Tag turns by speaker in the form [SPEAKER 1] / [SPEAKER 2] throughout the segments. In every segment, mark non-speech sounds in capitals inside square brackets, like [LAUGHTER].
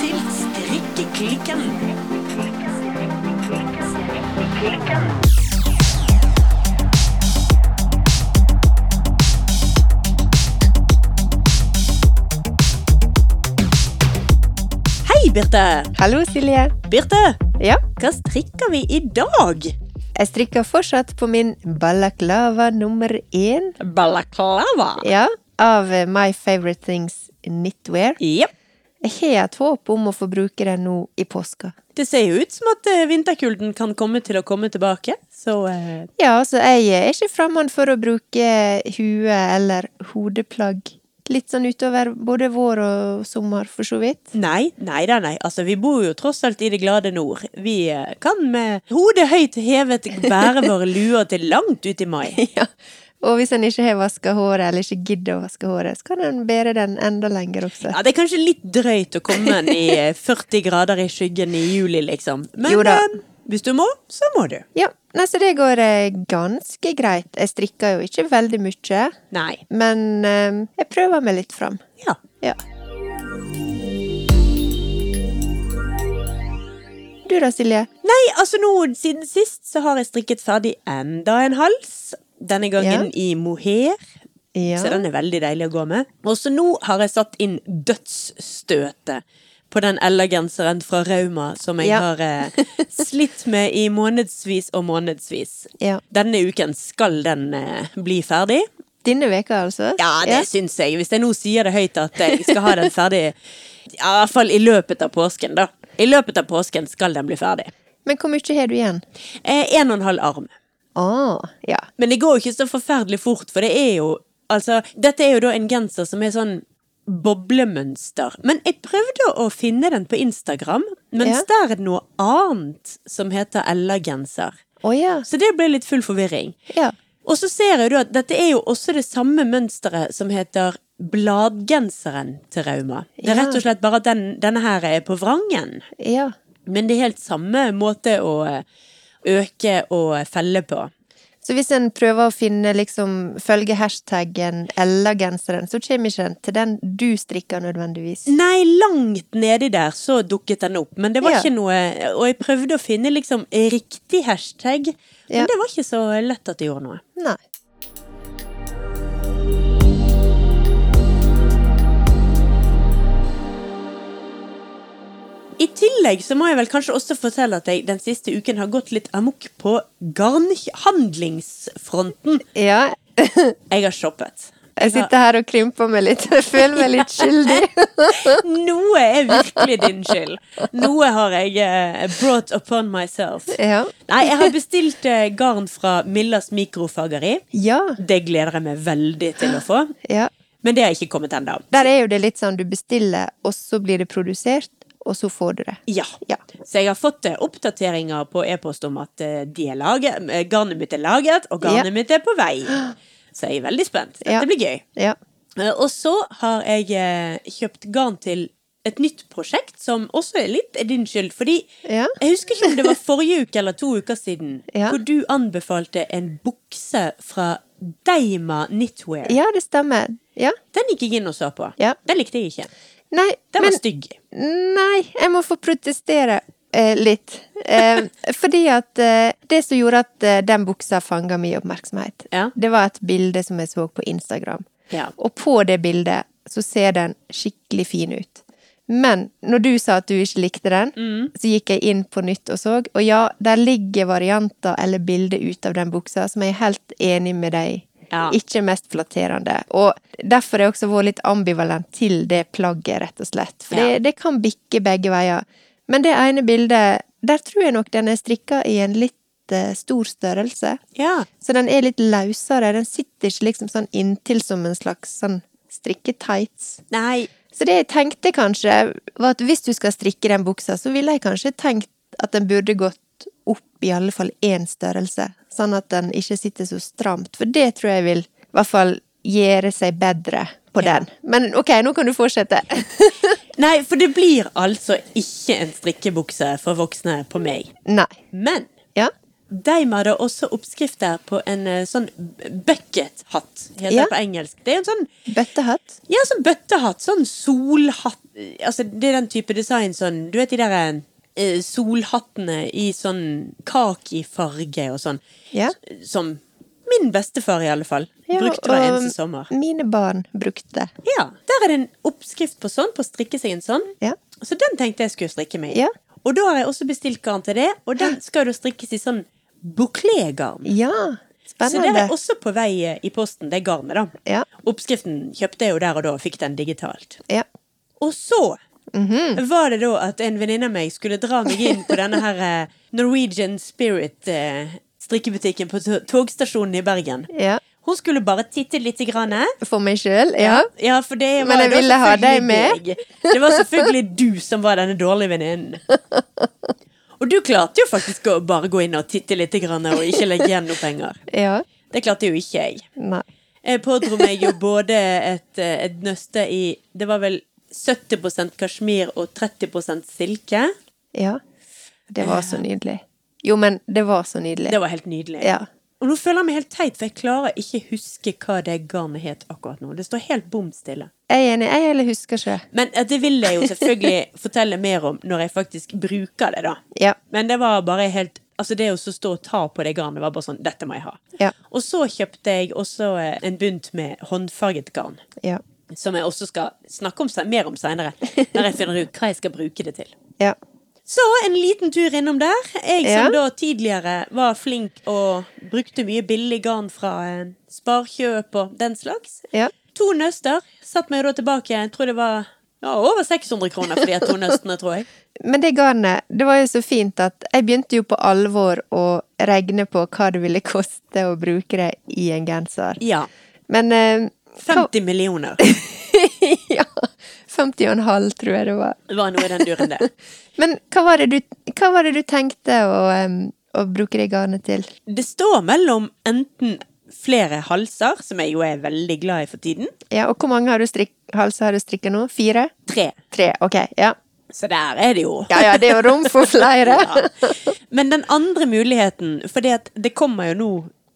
[SPEAKER 1] til Strikkeklikken. Hei, Birte.
[SPEAKER 2] Hallo, Silje.
[SPEAKER 1] Birte,
[SPEAKER 2] Ja,
[SPEAKER 1] hva strikker vi i dag?
[SPEAKER 2] jeg strikker fortsatt på min balaklava nummer én.
[SPEAKER 1] Balaklava.
[SPEAKER 2] Ja, av eh, My Favorite Things Knitwear.
[SPEAKER 1] Jepp.
[SPEAKER 2] Jeg har et håp om å få bruke den nå i påska.
[SPEAKER 1] Det ser jo ut som at eh, vinterkulden kan komme til å komme tilbake, så eh,
[SPEAKER 2] Ja, altså, jeg er ikke fremmed for å bruke hue eller hodeplagg. Litt sånn utover både vår og sommer, for så vidt.
[SPEAKER 1] Nei, nei da, nei. Altså, vi bor jo tross alt i det glade nord. Vi eh, kan med hodet høyt hevet bære våre luer til langt ut i mai.
[SPEAKER 2] Ja. Og hvis en ikke har vaska håret, eller ikke gidder å vaske håret, så kan en bære den enda lenger også.
[SPEAKER 1] Ja, Det er kanskje litt drøyt å komme inn i eh, 40 grader i skyggen i juli, liksom. Men
[SPEAKER 2] Jo da.
[SPEAKER 1] eh, hvis du må, så må du.
[SPEAKER 2] Ja, nei, så det går eh, ganske greit. Jeg strikker jo ikke veldig mye,
[SPEAKER 1] Nei.
[SPEAKER 2] men eh, jeg prøver meg litt fram.
[SPEAKER 1] Ja.
[SPEAKER 2] Ja. Du da, Silje?
[SPEAKER 1] Nei, altså nå siden sist så har jeg strikket ferdig enda en hals. Denne gangen i mohair.
[SPEAKER 2] Ja.
[SPEAKER 1] Så den er veldig deilig å gå med. Også nå har jeg satt inn dødsstøtet på den Ella-genseren fra Rauma som jeg
[SPEAKER 2] Ja.
[SPEAKER 1] har
[SPEAKER 2] [LAUGHS]
[SPEAKER 1] eh, slitt med i månedsvis og månedsvis.
[SPEAKER 2] Ja.
[SPEAKER 1] Denne uken skal den eh, bli ferdig.
[SPEAKER 2] Denne veka altså?
[SPEAKER 1] Ja, det syns jeg. Hvis jeg nå sier det høyt at jeg skal ha den ferdig, ja, i hvert fall i løpet av påsken, da. I løpet av påsken skal den bli ferdig.
[SPEAKER 2] Men hvor mye har du igjen?
[SPEAKER 1] Eh, en og en halv arm.
[SPEAKER 2] Å, ja.
[SPEAKER 1] Men det går jo ikke så forferdelig fort, for det er jo Altså, dette er jo da en genser som er sånn boblemønster. Men jeg prøvde å finne den på Instagram, mens
[SPEAKER 2] Ja.
[SPEAKER 1] der er det noe annet som heter Ella-genser.
[SPEAKER 2] Å ja.
[SPEAKER 1] Så det ble litt full forvirring.
[SPEAKER 2] ja.
[SPEAKER 1] Og så ser jeg jo da at dette er jo også det samme mønsteret som heter bladgenseren til Rauma. Det er
[SPEAKER 2] Ja.
[SPEAKER 1] rett og slett bare at den, denne her er på vrangen.
[SPEAKER 2] Ja.
[SPEAKER 1] Men det er helt samme måte å øke og felle på.
[SPEAKER 2] Så hvis en prøver å finne, liksom, følge hashtaggen eller genseren, så kommer ikke den til den du strikker nødvendigvis.
[SPEAKER 1] Nei, langt nedi der så dukket den opp, men det var
[SPEAKER 2] Ja.
[SPEAKER 1] ikke noe Og jeg prøvde å finne liksom riktig hashtag, men
[SPEAKER 2] Ja.
[SPEAKER 1] det var ikke så lett at det gjorde noe.
[SPEAKER 2] Nei.
[SPEAKER 1] I tillegg så må jeg vel kanskje også fortelle at jeg den siste uken har gått litt amok på garnhandlingsfronten.
[SPEAKER 2] Ja,
[SPEAKER 1] Jeg har shoppet.
[SPEAKER 2] Jeg sitter her og krymper meg litt. Jeg føler meg litt skyldig.
[SPEAKER 1] Noe er virkelig din skyld. Noe har jeg eh, brought upon myself.
[SPEAKER 2] [LAUGHS] Ja.
[SPEAKER 1] Nei, jeg har bestilt eh, garn fra Millas mikrofageri.
[SPEAKER 2] ja.
[SPEAKER 1] Det gleder jeg meg veldig til å få.
[SPEAKER 2] ja.
[SPEAKER 1] Men det har ikke kommet ennå.
[SPEAKER 2] Der er jo det litt sånn du bestiller, og så blir det produsert, og så får du det.
[SPEAKER 1] Ja.
[SPEAKER 2] Ja.
[SPEAKER 1] Så jeg har fått eh, oppdateringer på e-post om at eh, de er laget, eh, garnet mitt er laget, og garnet
[SPEAKER 2] Ja.
[SPEAKER 1] mitt er på vei. Så jeg er veldig spent. Dette
[SPEAKER 2] Ja.
[SPEAKER 1] blir gøy.
[SPEAKER 2] Ja.
[SPEAKER 1] Eh, Og så har jeg eh, kjøpt garn til et nytt prosjekt, som også er litt er din skyld. Fordi
[SPEAKER 2] Ja.
[SPEAKER 1] jeg husker ikke om det var forrige uke eller to uker siden,
[SPEAKER 2] Ja.
[SPEAKER 1] hvor du anbefalte en bukse fra Deima Knitwear.
[SPEAKER 2] ja, det stemmer. Ja.
[SPEAKER 1] Den gikk jeg inn og så på.
[SPEAKER 2] Ja.
[SPEAKER 1] Den likte jeg ikke.
[SPEAKER 2] Nei,
[SPEAKER 1] Den
[SPEAKER 2] men
[SPEAKER 1] var stygg.
[SPEAKER 2] Nei, jeg må få protestere eh, litt. Eh, fordi at eh, det som gjorde at eh, den buksa fanga min oppmerksomhet,
[SPEAKER 1] Ja.
[SPEAKER 2] det var et bilde som jeg så på Instagram.
[SPEAKER 1] Ja.
[SPEAKER 2] Og på det bildet så ser den skikkelig fin ut. Men når du sa at du ikke likte den,
[SPEAKER 1] Mm.
[SPEAKER 2] så gikk jeg inn på nytt og så. Og ja, der ligger varianter eller bilder ut av den buksa som jeg er helt enig med deg i.
[SPEAKER 1] Ja.
[SPEAKER 2] Ikke mest flatterende. Og derfor har jeg også vært litt ambivalent til det plagget, rett og slett. For
[SPEAKER 1] Ja.
[SPEAKER 2] det, det kan bikke begge veier. Men det ene bildet, der tror jeg nok den er strikka i en litt eh, stor størrelse.
[SPEAKER 1] Ja.
[SPEAKER 2] Så den er litt løsere. Den sitter ikke liksom sånn inntil som en slags sånn strikketights.
[SPEAKER 1] Nei,
[SPEAKER 2] Så det jeg tenkte kanskje, var at hvis du skal strikke den buksa, så ville jeg kanskje tenkt at den burde gått opp i alle fall én størrelse, sånn at den ikke sitter så stramt. For det tror jeg vil i hvert fall gjøre seg bedre på
[SPEAKER 1] Ja.
[SPEAKER 2] den. Men ok, nå kan du fortsette. [LAUGHS]
[SPEAKER 1] Nei, for det blir altså ikke en strikkebukse for voksne på meg.
[SPEAKER 2] Nei.
[SPEAKER 1] Men
[SPEAKER 2] Ja.
[SPEAKER 1] De hadde også oppskrifter på en eh, sånn bucket-hatt, heter
[SPEAKER 2] Ja.
[SPEAKER 1] det på engelsk. Det er en sånn
[SPEAKER 2] Bøttehatt?
[SPEAKER 1] ja, sånn bøttehatt, sånn solhatt Altså, det er den type design sånn Du vet de der eh, solhattene i sånn kakifarge og sånn.
[SPEAKER 2] Ja.
[SPEAKER 1] Som min bestefar, i alle fall,
[SPEAKER 2] Ja,
[SPEAKER 1] brukte hver
[SPEAKER 2] og
[SPEAKER 1] eneste sommer.
[SPEAKER 2] Mine barn brukte.
[SPEAKER 1] Ja, Der er det en oppskrift på sånn, på å strikke seg en sånn.
[SPEAKER 2] Ja.
[SPEAKER 1] Så den tenkte jeg skulle strikke meg i.
[SPEAKER 2] Ja.
[SPEAKER 1] Og da har jeg også bestilt garn til det, og den skal jo strikkes i sånn bouclé-garn.
[SPEAKER 2] Ja,
[SPEAKER 1] Så det er
[SPEAKER 2] spennende.
[SPEAKER 1] også på vei eh, i posten, det garnet, da.
[SPEAKER 2] Ja.
[SPEAKER 1] Oppskriften kjøpte jeg jo der og da, og fikk den digitalt.
[SPEAKER 2] Ja.
[SPEAKER 1] Og så
[SPEAKER 2] Mhm.
[SPEAKER 1] var det da at en venninne av meg skulle dra meg inn på denne her eh, Norwegian Spirit eh, strikkebutikken på to- togstasjonen i Bergen.
[SPEAKER 2] ja.
[SPEAKER 1] Hun skulle bare titte litt. Grann.
[SPEAKER 2] For meg sjøl, ja.
[SPEAKER 1] Ja, for det var jo
[SPEAKER 2] Men jeg
[SPEAKER 1] da
[SPEAKER 2] ville ha
[SPEAKER 1] selvfølgelig
[SPEAKER 2] deg med.
[SPEAKER 1] deg. Det var selvfølgelig du som var denne dårlige
[SPEAKER 2] [LAUGHS]
[SPEAKER 1] venninnen. Og du klarte jo faktisk å bare gå inn og titte litt grann, og ikke legge igjen noe penger.
[SPEAKER 2] Ja.
[SPEAKER 1] Det klarte jo ikke jeg.
[SPEAKER 2] Nei.
[SPEAKER 1] Jeg pådro meg jo både et, eh, et nøste i Det var vel 70 kasjmir og 30 silke.
[SPEAKER 2] Ja. Det var så nydelig. Jo, men det var så nydelig.
[SPEAKER 1] Eh. Det var helt nydelig.
[SPEAKER 2] Ja.
[SPEAKER 1] Og nå føler jeg meg helt teit, for jeg klarer ikke huske hva det garnet het akkurat nå. Det står helt bom stille.
[SPEAKER 2] Jeg er enig. Jeg heller husker ikke.
[SPEAKER 1] Men eh, det vil jeg jo selvfølgelig [LAUGHS] fortelle mer om når jeg faktisk bruker det, da.
[SPEAKER 2] Ja.
[SPEAKER 1] Men det var bare helt Altså, det å så stå og ta på det garnet var bare sånn Dette må jeg ha.
[SPEAKER 2] Ja.
[SPEAKER 1] Og så kjøpte jeg også eh, en bunt med håndfarget garn.
[SPEAKER 2] Ja.
[SPEAKER 1] Som jeg også skal snakke om, se- mer om seinere, når jeg finner ut hva jeg skal bruke det til.
[SPEAKER 2] Ja.
[SPEAKER 1] Så en liten tur innom der. Jeg som
[SPEAKER 2] Ja.
[SPEAKER 1] da tidligere var flink og brukte mye billig garn fra eh, Sparkjøp og den slags.
[SPEAKER 2] Ja.
[SPEAKER 1] To nøster. Satt meg jo da tilbake, jeg tror det var ja, over 600 kroner for de her to nøstene, tror jeg.
[SPEAKER 2] Men det garnet, det var jo så fint at jeg begynte jo på alvor å regne på hva det ville koste å bruke det i en genser.
[SPEAKER 1] Ja.
[SPEAKER 2] Men eh, hva-
[SPEAKER 1] 50 millioner
[SPEAKER 2] ja, [LAUGHS] 50 og en halv, tror jeg det var.
[SPEAKER 1] var noe i den duren der.
[SPEAKER 2] Men hva var det du, hva var det du tenkte å, em, å bruke det garnet til?
[SPEAKER 1] Det står mellom enten flere halser, som jeg jo er veldig glad i for tiden,
[SPEAKER 2] Ja, og hvor mange har du strikk, halser har du strikka nå? Fire?
[SPEAKER 1] tre.
[SPEAKER 2] Tre, ok. Ja.
[SPEAKER 1] Så der er det jo.
[SPEAKER 2] ja ja, det er jo rom for flere.
[SPEAKER 1] [LAUGHS] Ja. Men den andre muligheten, for det kommer jo nå,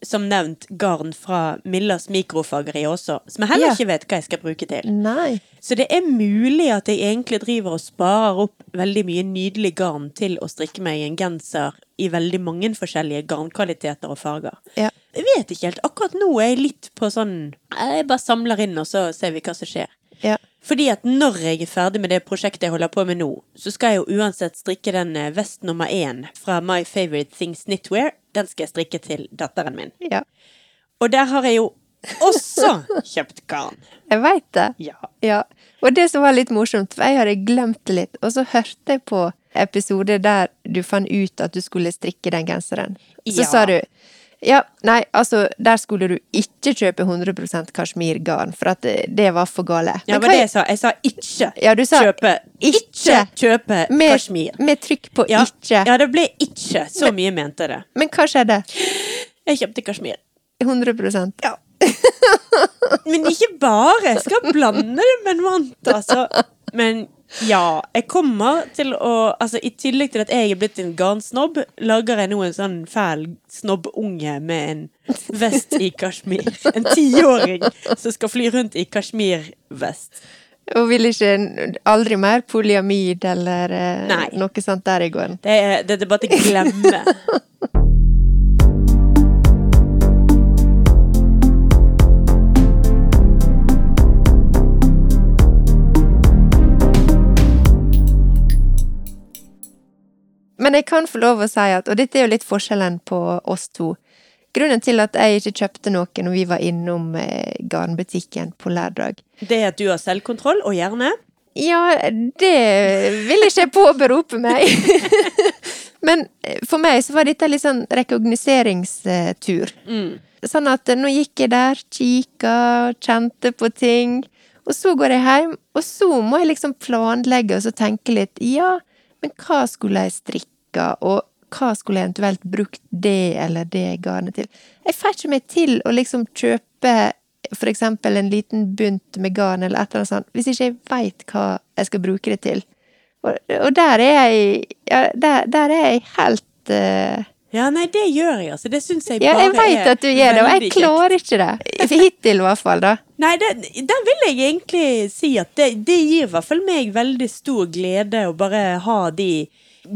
[SPEAKER 1] som nevnt, garn fra Millas mikrofageri også, som jeg heller
[SPEAKER 2] Ja.
[SPEAKER 1] ikke vet hva jeg skal bruke til.
[SPEAKER 2] Nei.
[SPEAKER 1] Så det er mulig at jeg egentlig driver og sparer opp veldig mye nydelig garn til å strikke meg en genser i veldig mange forskjellige garnkvaliteter og farger.
[SPEAKER 2] Ja.
[SPEAKER 1] Jeg vet ikke helt. Akkurat nå er jeg litt på sånn Jeg bare samler inn, og så ser vi hva som skjer.
[SPEAKER 2] Ja.
[SPEAKER 1] Fordi at når jeg er ferdig med det prosjektet jeg holder på med nå, så skal jeg jo uansett strikke den eh, vest nummer én fra My Favorite Things Knitwear. Den skal jeg strikke til datteren min.
[SPEAKER 2] ja.
[SPEAKER 1] Og der har jeg jo også kjøpt garn.
[SPEAKER 2] Jeg veit det.
[SPEAKER 1] Ja.
[SPEAKER 2] Ja, og det som var litt morsomt, for jeg hadde glemt det litt, og så hørte jeg på episode der du fant ut at du skulle strikke den genseren. Så
[SPEAKER 1] Ja.
[SPEAKER 2] sa du ja, nei, altså, der skulle du ikke kjøpe 100 kasjmirgarn, for at det, det var for gale.
[SPEAKER 1] Ja,
[SPEAKER 2] Men
[SPEAKER 1] var
[SPEAKER 2] hva-
[SPEAKER 1] det jeg sa. Jeg sa ikke
[SPEAKER 2] Ja, du sa
[SPEAKER 1] kjøpe Ikke
[SPEAKER 2] ikke.
[SPEAKER 1] kjøpe
[SPEAKER 2] med,
[SPEAKER 1] kasjmir.
[SPEAKER 2] med trykk på
[SPEAKER 1] Ja.
[SPEAKER 2] ikke.
[SPEAKER 1] ja, det ble ikke. Så mye mente jeg det.
[SPEAKER 2] Men hva skjedde?
[SPEAKER 1] Jeg kjøpte kasjmir.
[SPEAKER 2] 100
[SPEAKER 1] Ja. Men ikke bare. Jeg skal blande det med noe annet, altså. Men ja, jeg kommer til å Altså, i tillegg til at jeg er blitt en garnsnobb, lager jeg nå en sånn fæl snobbunge med en vest i kasjmir. En tiåring som skal fly rundt i kasjmirvest.
[SPEAKER 2] Og vil ikke aldri mer polyamid eller eh,
[SPEAKER 1] Nei.
[SPEAKER 2] noe sånt der i gården.
[SPEAKER 1] Det er, det er bare til å glemme.
[SPEAKER 2] Men jeg kan få lov å si at, og dette er jo litt forskjellen på oss to Grunnen til at jeg ikke kjøpte noe når vi var innom eh, garnbutikken på lørdag
[SPEAKER 1] Det er at du har selvkontroll, og gjerne
[SPEAKER 2] Ja, det vil ikke jeg påberope meg. [LAUGHS] Men eh, for meg så var dette litt sånn rekognoseringstur. Sånn at eh, nå gikk jeg der, kikka, kjente på ting. Og så går jeg hjem, og så må jeg liksom planlegge og så tenke litt Ja, men hva skulle jeg strikke, og hva skulle jeg eventuelt brukt det eller det garnet til? Jeg får ikke meg til å liksom kjøpe for eksempel en liten bunt med garn eller et eller annet sånt, hvis ikke jeg veit hva jeg skal bruke det til. Og, og der er jeg ja, der, der er jeg helt eh,
[SPEAKER 1] Ja, nei, det gjør jeg, altså. Det syns jeg
[SPEAKER 2] Ja,
[SPEAKER 1] bare
[SPEAKER 2] jeg veit at du gjør det, og jeg
[SPEAKER 1] veldig kjekt.
[SPEAKER 2] klarer ikke det. [LAUGHS] Hittil, i hvert fall, da.
[SPEAKER 1] Nei, det, den vil jeg egentlig si at det, det gir i hvert fall meg veldig stor glede å bare ha de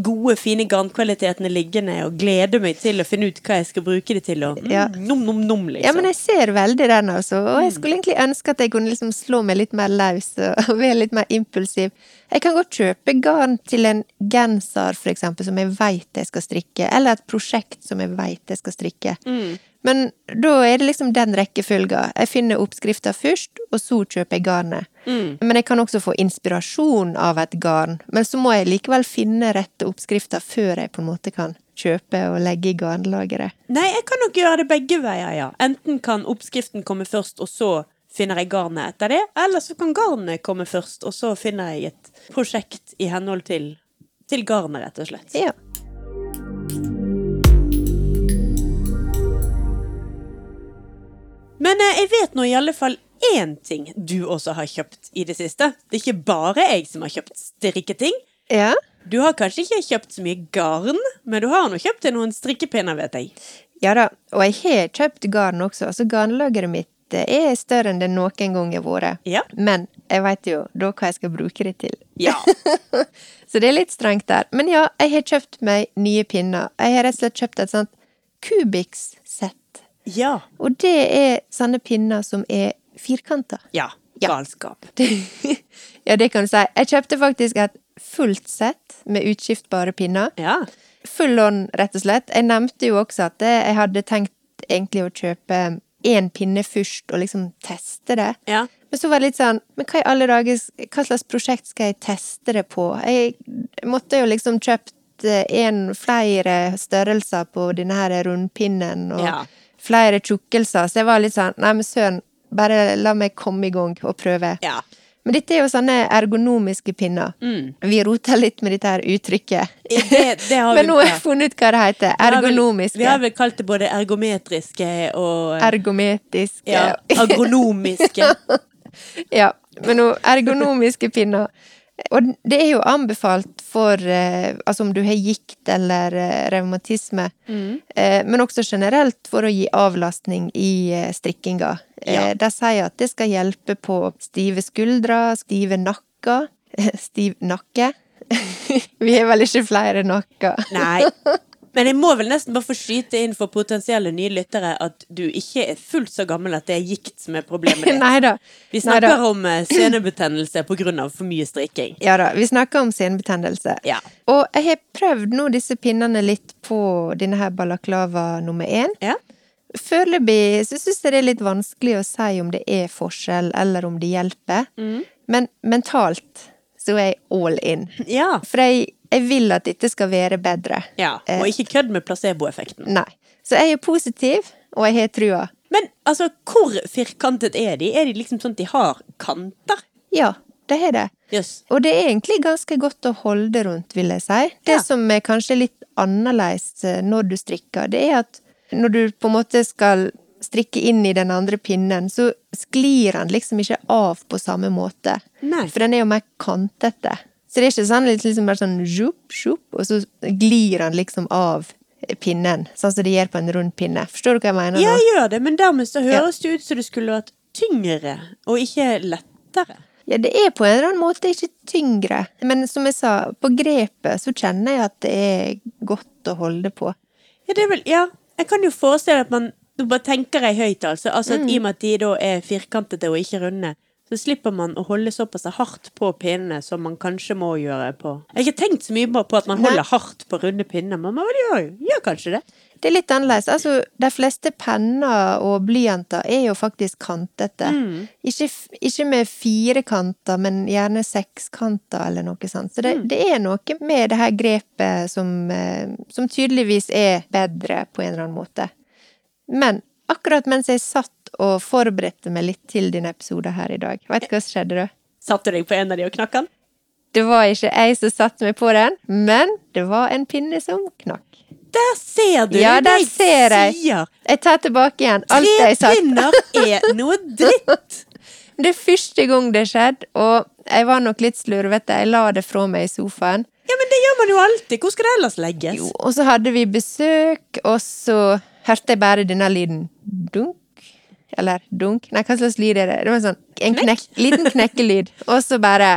[SPEAKER 1] gode, fine garnkvalitetene liggende og glede meg til å finne ut hva jeg skal bruke det til, og mm,
[SPEAKER 2] Ja.
[SPEAKER 1] nom, nom, nom, liksom.
[SPEAKER 2] Ja, men jeg ser veldig den, altså. Og jeg skulle egentlig ønske at jeg kunne liksom slå meg litt mer løs og være litt mer impulsiv. Jeg kan godt kjøpe garn til en genser, for eksempel, som jeg veit jeg skal strikke, eller et prosjekt som jeg veit jeg skal strikke. Men da er det liksom den rekkefølga. Jeg finner oppskrifta først, og så kjøper jeg garnet. Men jeg kan også få inspirasjon av et garn. Men så må jeg likevel finne rette oppskrifta før jeg på en måte kan kjøpe og legge i garnlageret.
[SPEAKER 1] Nei, jeg kan nok gjøre det begge veier, ja. Enten kan oppskriften komme først, og så finner jeg garnet etter det, eller så kan garnet komme først, og så finner jeg et prosjekt i henhold til, til garnet, rett og slett.
[SPEAKER 2] Ja.
[SPEAKER 1] Men eh, jeg vet nå i alle fall én ting du også har kjøpt i det siste. Det er ikke bare jeg som har kjøpt strikketing.
[SPEAKER 2] ja.
[SPEAKER 1] Du har kanskje ikke kjøpt så mye garn, men du har nå kjøpt deg noen strikkepinner, vet jeg.
[SPEAKER 2] Ja da, og jeg har kjøpt garn også, altså garnlageret mitt eh, er større enn det noen gang har vært.
[SPEAKER 1] Ja.
[SPEAKER 2] Men jeg veit jo da hva jeg skal bruke det til.
[SPEAKER 1] Ja.
[SPEAKER 2] Så det er litt strengt der. Men ja, jeg har kjøpt meg nye pinner. Jeg har rett og slett kjøpt et sånt Kubix-sett.
[SPEAKER 1] [LAUGHS] Ja.
[SPEAKER 2] Og det er sånne pinner som er firkanta.
[SPEAKER 1] Ja.
[SPEAKER 2] Ja.
[SPEAKER 1] Galskap.
[SPEAKER 2] ja, det kan du si. Jeg kjøpte faktisk et fullt sett med utskiftbare pinner.
[SPEAKER 1] Ja.
[SPEAKER 2] Full on, rett og slett. Jeg nevnte jo også at eh, jeg hadde tenkt egentlig å kjøpe én pinne først, og liksom teste det.
[SPEAKER 1] Ja.
[SPEAKER 2] Men så var det litt sånn Men hva i alle dager Hva slags prosjekt skal jeg teste det på? Jeg måtte jo liksom kjøpt eh, en flere størrelser på denne her rundpinnen, og
[SPEAKER 1] Ja.
[SPEAKER 2] flere tjukkelser, så jeg var litt sånn Nei, men søren, bare la meg komme i gang og prøve.
[SPEAKER 1] Ja.
[SPEAKER 2] Men dette er jo sånne ergonomiske pinner.
[SPEAKER 1] Mm.
[SPEAKER 2] Vi roter litt med dette her uttrykket.
[SPEAKER 1] Eh, Det-
[SPEAKER 2] [LAUGHS]
[SPEAKER 1] det har vi-
[SPEAKER 2] Men nå har jeg funnet ut hva det
[SPEAKER 1] Vi
[SPEAKER 2] heter.
[SPEAKER 1] har vel-
[SPEAKER 2] Ergonomiske.
[SPEAKER 1] Vi har vel kalt det både ergometriske og eh,
[SPEAKER 2] Ergometiske.
[SPEAKER 1] ja,
[SPEAKER 2] [LAUGHS]
[SPEAKER 1] agronomiske.
[SPEAKER 2] Ja, men noe ergonomiske pinner. Og det er jo anbefalt for eh, altså om du har gikt eller eh, revmatisme,
[SPEAKER 1] Mm.
[SPEAKER 2] eh, men også generelt for å gi avlastning i eh, strikkinga.
[SPEAKER 1] Ja.
[SPEAKER 2] Eh, de sier at det skal hjelpe på stive skuldre, stive nakker, [LAUGHS] stiv nakke. [LAUGHS] Vi har vel ikke flere nakker?
[SPEAKER 1] Nei. Men jeg må vel nesten bare få skyte inn for potensielle nye lyttere at du ikke er fullt så gammel at det er gikt som er problemet ditt.
[SPEAKER 2] [LAUGHS] Nei da.
[SPEAKER 1] Vi snakker om eh, senebetennelse pga. for mye strikking.
[SPEAKER 2] Ja da, vi snakker om senebetennelse.
[SPEAKER 1] Ja.
[SPEAKER 2] Og jeg har prøvd nå disse pinnene litt på denne her balaklava nummer én.
[SPEAKER 1] Ja.
[SPEAKER 2] Foreløpig så syns jeg det er litt vanskelig å si om det er forskjell, eller om det hjelper.
[SPEAKER 1] Mm.
[SPEAKER 2] Men mentalt så er jeg all in.
[SPEAKER 1] Ja.
[SPEAKER 2] For jeg, jeg vil at dette skal være bedre.
[SPEAKER 1] ja.
[SPEAKER 2] Eh,
[SPEAKER 1] Og ikke kødd med placeboeffekten.
[SPEAKER 2] Nei. Så jeg er positiv, og jeg har trua.
[SPEAKER 1] Men altså, hvor firkantet er de? Er de liksom sånn at de har kanter?
[SPEAKER 2] Ja, det har det.
[SPEAKER 1] Jøss.
[SPEAKER 2] Og det er egentlig ganske godt å holde rundt, vil jeg si. Det
[SPEAKER 1] Ja.
[SPEAKER 2] som er kanskje litt annerledes eh, når du strikker, det er at når du på en måte skal strikke inn i den andre pinnen, så sklir den liksom ikke av på samme måte.
[SPEAKER 1] Nei.
[SPEAKER 2] For den er jo mer kantete. Så det er ikke sånn litt liksom bare sånn zhup, zhup, og så glir den liksom av pinnen, sånn som det gjør på en rund pinne. Forstår du hva jeg mener nå?
[SPEAKER 1] Jeg gjør det, men dermed så høres det ut som det skulle vært tyngre, og ikke lettere.
[SPEAKER 2] Ja, det er på en eller annen måte ikke tyngre. Men som jeg sa, på grepet så kjenner jeg at det er godt å holde på.
[SPEAKER 1] Ja, det er vel, ja. Jeg kan jo forestille at man Nå bare tenker jeg høyt, altså. altså
[SPEAKER 2] Mm.
[SPEAKER 1] at I og med at de da er firkantete og ikke runde, så slipper man å holde såpass hardt på pinnene som man kanskje må gjøre på Jeg har ikke tenkt så mye på- på at man
[SPEAKER 2] Nei.
[SPEAKER 1] holder hardt på runde pinner, men man gjør, jo- gjør kanskje det.
[SPEAKER 2] Det er litt annerledes. Altså, de fleste penner og blyanter er jo faktisk kantete. Ikke, f- ikke med fire kanter, men gjerne sekskanter eller noe sånt. Så det, det er noe med det her grepet som, eh, som tydeligvis er bedre på en eller annen måte. Men akkurat mens jeg satt og forberedte meg litt til din episode her i dag, veit du hva som skjedde da?
[SPEAKER 1] Satte du deg på en av de og knakk den?
[SPEAKER 2] Det var ikke jeg som satte meg på den, men det var en pinne som knakk.
[SPEAKER 1] Der ser du!
[SPEAKER 2] Ja,
[SPEAKER 1] det
[SPEAKER 2] der ser jeg.
[SPEAKER 1] sier.
[SPEAKER 2] Jeg tar tilbake igjen alt det jeg sa.
[SPEAKER 1] Trepinner er noe dritt!
[SPEAKER 2] Det er første gang det skjedde, og jeg var nok litt slurvete. Jeg la det fra meg i sofaen.
[SPEAKER 1] Ja, men det gjør man jo alltid. Hvor skal det ellers legges?
[SPEAKER 2] Jo, og så hadde vi besøk, og så hørte jeg bare denne lyden dunk. Eller dunk Nei, hva slags lyd er det? Det var sånn, En knekk, liten [LAUGHS] knekkelyd. Og så bare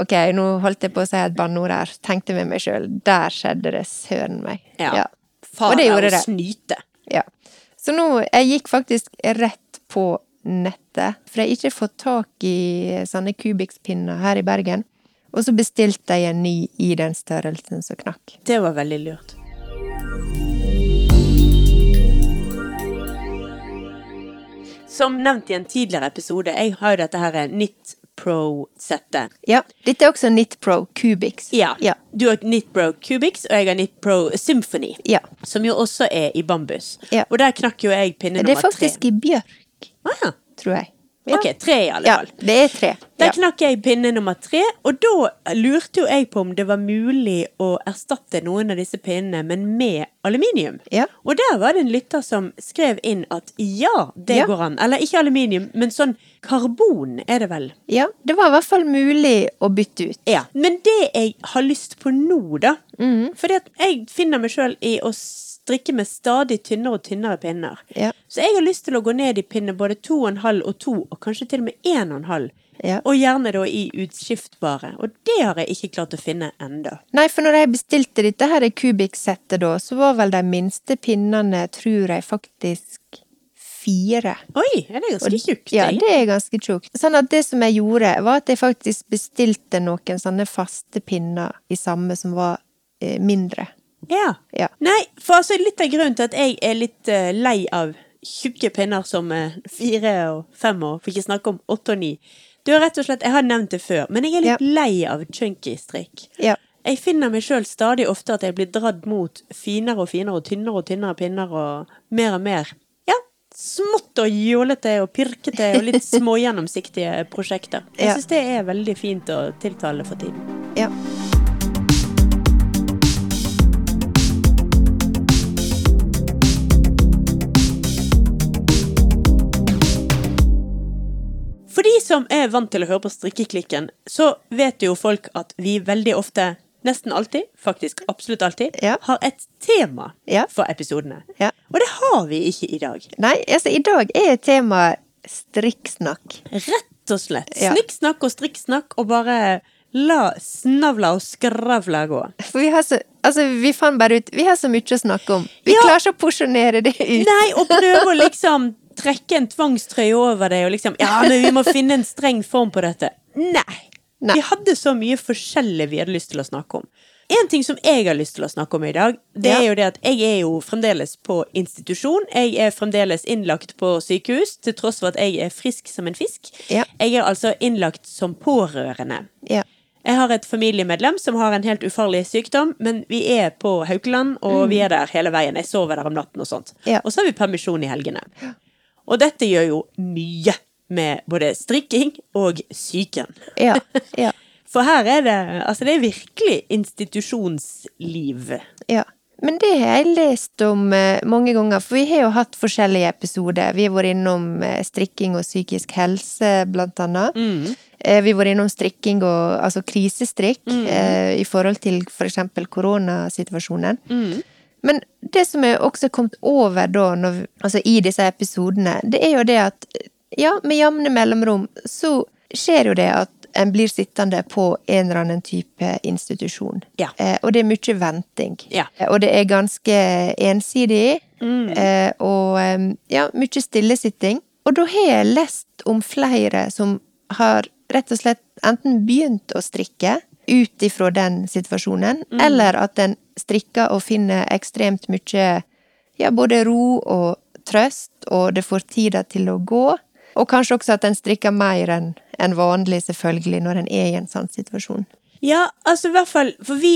[SPEAKER 2] Ok, nå holdt jeg på å si et banneord her. Tenkte med meg sjøl. Der skjedde det søren meg.
[SPEAKER 1] Ja.
[SPEAKER 2] Og det gjorde det.
[SPEAKER 1] Snyte.
[SPEAKER 2] Ja. Så nå, jeg gikk faktisk rett på nettet, for jeg har ikke fått tak i sånne kubikspinner her i Bergen. Og så bestilte jeg en ny i den størrelsen som knakk.
[SPEAKER 1] Det var veldig lurt. Som nevnt i en tidligere episode, jeg har jo dette her Knit Pro-settet.
[SPEAKER 2] Ja, dette er også Knit Pro Cubics.
[SPEAKER 1] Ja.
[SPEAKER 2] Ja.
[SPEAKER 1] Du har Knit Pro Cubics, og jeg har Knit Pro Symphony.
[SPEAKER 2] Ja.
[SPEAKER 1] Som jo også er i bambus.
[SPEAKER 2] Ja.
[SPEAKER 1] Og der knakk jo jeg pinne
[SPEAKER 2] Det er
[SPEAKER 1] nummer
[SPEAKER 2] faktisk
[SPEAKER 1] tre.
[SPEAKER 2] i bjørk,
[SPEAKER 1] Ah, ja.
[SPEAKER 2] tror jeg.
[SPEAKER 1] Ok, tre i alle
[SPEAKER 2] Ja,
[SPEAKER 1] fall.
[SPEAKER 2] det er tre.
[SPEAKER 1] Der
[SPEAKER 2] Ja.
[SPEAKER 1] knakk jeg pinne nummer tre, og da lurte jo jeg på om det var mulig å erstatte noen av disse pinnene, men med aluminium.
[SPEAKER 2] Ja.
[SPEAKER 1] Og der var det en lytter som skrev inn at ja, det
[SPEAKER 2] Ja.
[SPEAKER 1] går an. Eller ikke aluminium, men sånn karbon er det vel.
[SPEAKER 2] ja, det var i hvert fall mulig å bytte ut.
[SPEAKER 1] Ja. Men det jeg har lyst på nå, da
[SPEAKER 2] Mhm.
[SPEAKER 1] Fordi at jeg finner meg sjøl i å strikke med stadig tynnere og tynnere pinner.
[SPEAKER 2] Ja.
[SPEAKER 1] Så jeg har lyst til å gå ned i pinne både 2,5 og 2, og kanskje til og med 1,5.
[SPEAKER 2] Ja.
[SPEAKER 1] Og gjerne da i utskiftbare. Og det har jeg ikke klart å finne enda.
[SPEAKER 2] Nei, for når jeg bestilte dette her Cubic-settet da, så var vel de minste pinnene, tror jeg, faktisk fire.
[SPEAKER 1] Oi, er det
[SPEAKER 2] Og-
[SPEAKER 1] ganske tjukt?
[SPEAKER 2] Ja,
[SPEAKER 1] jeg?
[SPEAKER 2] det er ganske tjukt. Sånn at det som jeg gjorde, var at jeg faktisk bestilte noen sånne faste pinner i samme som var eh, mindre.
[SPEAKER 1] Ja.
[SPEAKER 2] Ja.
[SPEAKER 1] Nei, for altså litt av grunnen til at jeg er litt eh, lei av tjukke pinner som eh, fire og fem og for ikke snakke om åtte og ni. Det er rett og slett, Jeg har nevnt det før, men jeg er litt lei av chunky strikk.
[SPEAKER 2] Ja.
[SPEAKER 1] Jeg finner meg sjøl stadig ofte at jeg blir dratt mot finere og finere og tynnere og tynnere pinner og mer og mer. Ja, smått og jålete og pirkete og
[SPEAKER 2] [LAUGHS]
[SPEAKER 1] litt smågjennomsiktige prosjekter.
[SPEAKER 2] Ja.
[SPEAKER 1] Jeg syns det er veldig fint å tiltale for tiden.
[SPEAKER 2] ja.
[SPEAKER 1] For de som er vant til å høre på strikkeklikken, så vet jo folk at vi veldig ofte, nesten alltid, faktisk absolutt alltid,
[SPEAKER 2] Ja.
[SPEAKER 1] har et tema
[SPEAKER 2] Ja.
[SPEAKER 1] for episodene.
[SPEAKER 2] Ja.
[SPEAKER 1] Og det har vi ikke i dag.
[SPEAKER 2] Nei, altså i dag er temaet strikksnakk.
[SPEAKER 1] Rett og slett.
[SPEAKER 2] Ja.
[SPEAKER 1] Snikksnakk og strikksnakk, og bare la snavla og skravla
[SPEAKER 2] [LAUGHS]
[SPEAKER 1] gå.
[SPEAKER 2] For vi har så Altså, vi fant bare ut Vi har så mye å snakke om. Vi
[SPEAKER 1] Ja.
[SPEAKER 2] klarer ikke å porsjonere det ut.
[SPEAKER 1] Nei, og prøve å liksom trekke en tvangstrøye over det og liksom Ja, men vi må finne en streng form på dette. Nei.
[SPEAKER 2] Nei.
[SPEAKER 1] Vi hadde så mye forskjellig vi hadde lyst til å snakke om. En ting som jeg har lyst til å snakke om i dag, det er
[SPEAKER 2] Ja.
[SPEAKER 1] jo det at jeg er jo fremdeles på institusjon. Jeg er fremdeles innlagt på sykehus, til tross for at jeg er frisk som en fisk.
[SPEAKER 2] Ja.
[SPEAKER 1] Jeg er altså innlagt som pårørende.
[SPEAKER 2] Ja.
[SPEAKER 1] Jeg har et familiemedlem som har en helt ufarlig sykdom, men vi er på Haukeland, og vi er der hele veien. Jeg sover der om natten og sånt.
[SPEAKER 2] Ja.
[SPEAKER 1] Og så har vi permisjon i helgene. Og dette gjør jo mye med både strikking og psyken.
[SPEAKER 2] Ja. Ja.
[SPEAKER 1] For her er det Altså, det er virkelig institusjonsliv.
[SPEAKER 2] Ja. Men det har jeg lest om eh, mange ganger, for vi har jo hatt forskjellige episoder. Vi har vært innom eh, strikking og psykisk helse, blant annet. Eh, vi har vært innom strikking og altså krisestrikk eh, i forhold til f.eks. eksempel koronasituasjonen. Men det som jeg også har kommet over da, når, altså i disse episodene, det er jo det at ja, med jevne mellomrom så skjer jo det at en blir sittende på en eller annen type institusjon.
[SPEAKER 1] Ja.
[SPEAKER 2] Eh, og det er mye venting.
[SPEAKER 1] Ja.
[SPEAKER 2] Eh, Og det er ganske ensidig. Eh, og eh, ja, mye stillesitting. Og da har jeg lest om flere som har rett og slett enten begynt å strikke ut ifra den situasjonen, eller at en strikker og finner ekstremt mye ja, både ro og trøst, og det får tida til å gå. Og kanskje også at en strikker mer enn enn vanlig, selvfølgelig, når en er i en sånn situasjon.
[SPEAKER 1] Ja, altså i hvert fall For vi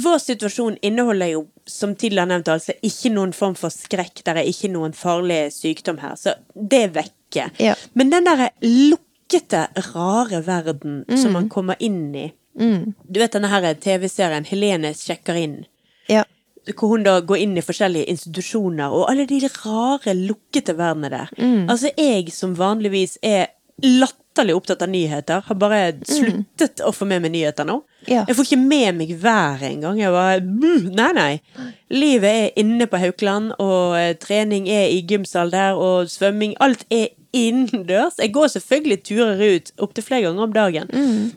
[SPEAKER 1] Vår situasjon inneholder jo, som tidligere nevnt, altså ikke noen form for skrekk. Det er ikke noen farlig sykdom her, så det er vekke.
[SPEAKER 2] Ja.
[SPEAKER 1] Men den derre lukkete, rare verden som man kommer inn i Du vet denne her TV-serien 'Helene sjekker inn'?
[SPEAKER 2] Ja.
[SPEAKER 1] hvor hun da går inn i forskjellige institusjoner, og alle de rare, lukkete verdenene der. Altså, jeg som vanligvis er latterlig latterlig opptatt av nyheter. Har bare sluttet å få med meg nyheter nå.
[SPEAKER 2] Ja.
[SPEAKER 1] Jeg får ikke med meg været engang. Jeg bare "Mm, Nei, nei. Livet er inne på Haukeland, og eh, trening er i gymsal der, og svømming Alt er innendørs. Jeg går selvfølgelig turer ut opptil flere ganger om dagen,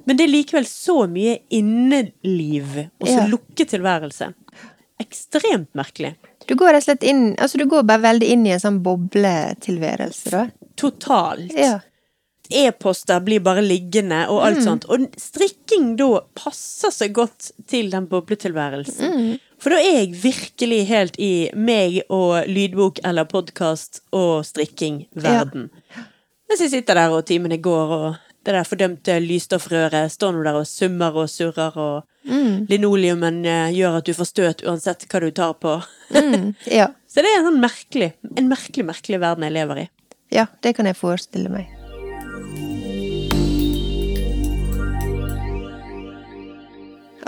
[SPEAKER 1] men det er likevel så mye inneliv og så
[SPEAKER 2] Ja.
[SPEAKER 1] lukket tilværelse. Ekstremt merkelig.
[SPEAKER 2] Du går rett og slett inn Altså, du går bare veldig inn i en sånn bobletilværelse, da.
[SPEAKER 1] Totalt.
[SPEAKER 2] Ja.
[SPEAKER 1] E-poster blir bare liggende og alt sånt. Og strikking da passer seg godt til den bobletilværelsen. For da er jeg virkelig helt i meg og lydbok eller podkast og strikking-verden. Mens jeg sitter der og timene går og det der fordømte lysstoffrøret står nå der og summer og surrer og linoleumen eh, gjør at du får støt uansett hva du tar på.
[SPEAKER 2] Mm. Ja.
[SPEAKER 1] Så det er en sånn merkelig, en merkelig, merkelig verden jeg lever i.
[SPEAKER 2] ja, det kan jeg forestille meg.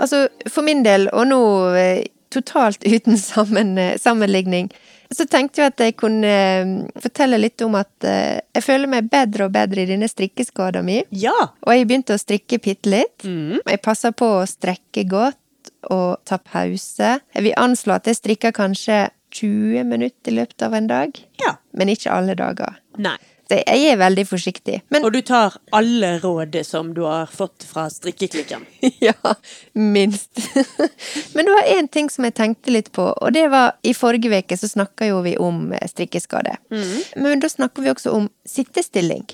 [SPEAKER 2] Altså, for min del, og nå eh, totalt [LAUGHS] uten sammen, eh, sammenligning, så tenkte jeg at jeg kunne eh, fortelle litt om at eh, jeg føler meg bedre og bedre i denne strikkeskada mi.
[SPEAKER 1] Ja!
[SPEAKER 2] Og jeg begynte å strikke bitte litt. Jeg passer på å strekke godt og ta pause. Jeg vil anslå at jeg strikker kanskje 20 minutter i løpet av en dag.
[SPEAKER 1] Ja.
[SPEAKER 2] Men ikke alle dager.
[SPEAKER 1] Nei.
[SPEAKER 2] Så jeg- jeg er veldig forsiktig. Men
[SPEAKER 1] [LAUGHS] Og du tar alle råd som du har fått fra strikkeklikken.
[SPEAKER 2] [LAUGHS] ja, minst. [LAUGHS] Men det var én ting som jeg tenkte litt på, og det var i forrige uke så snakka jo vi om eh, strikkeskade. Men da snakker vi også om sittestilling.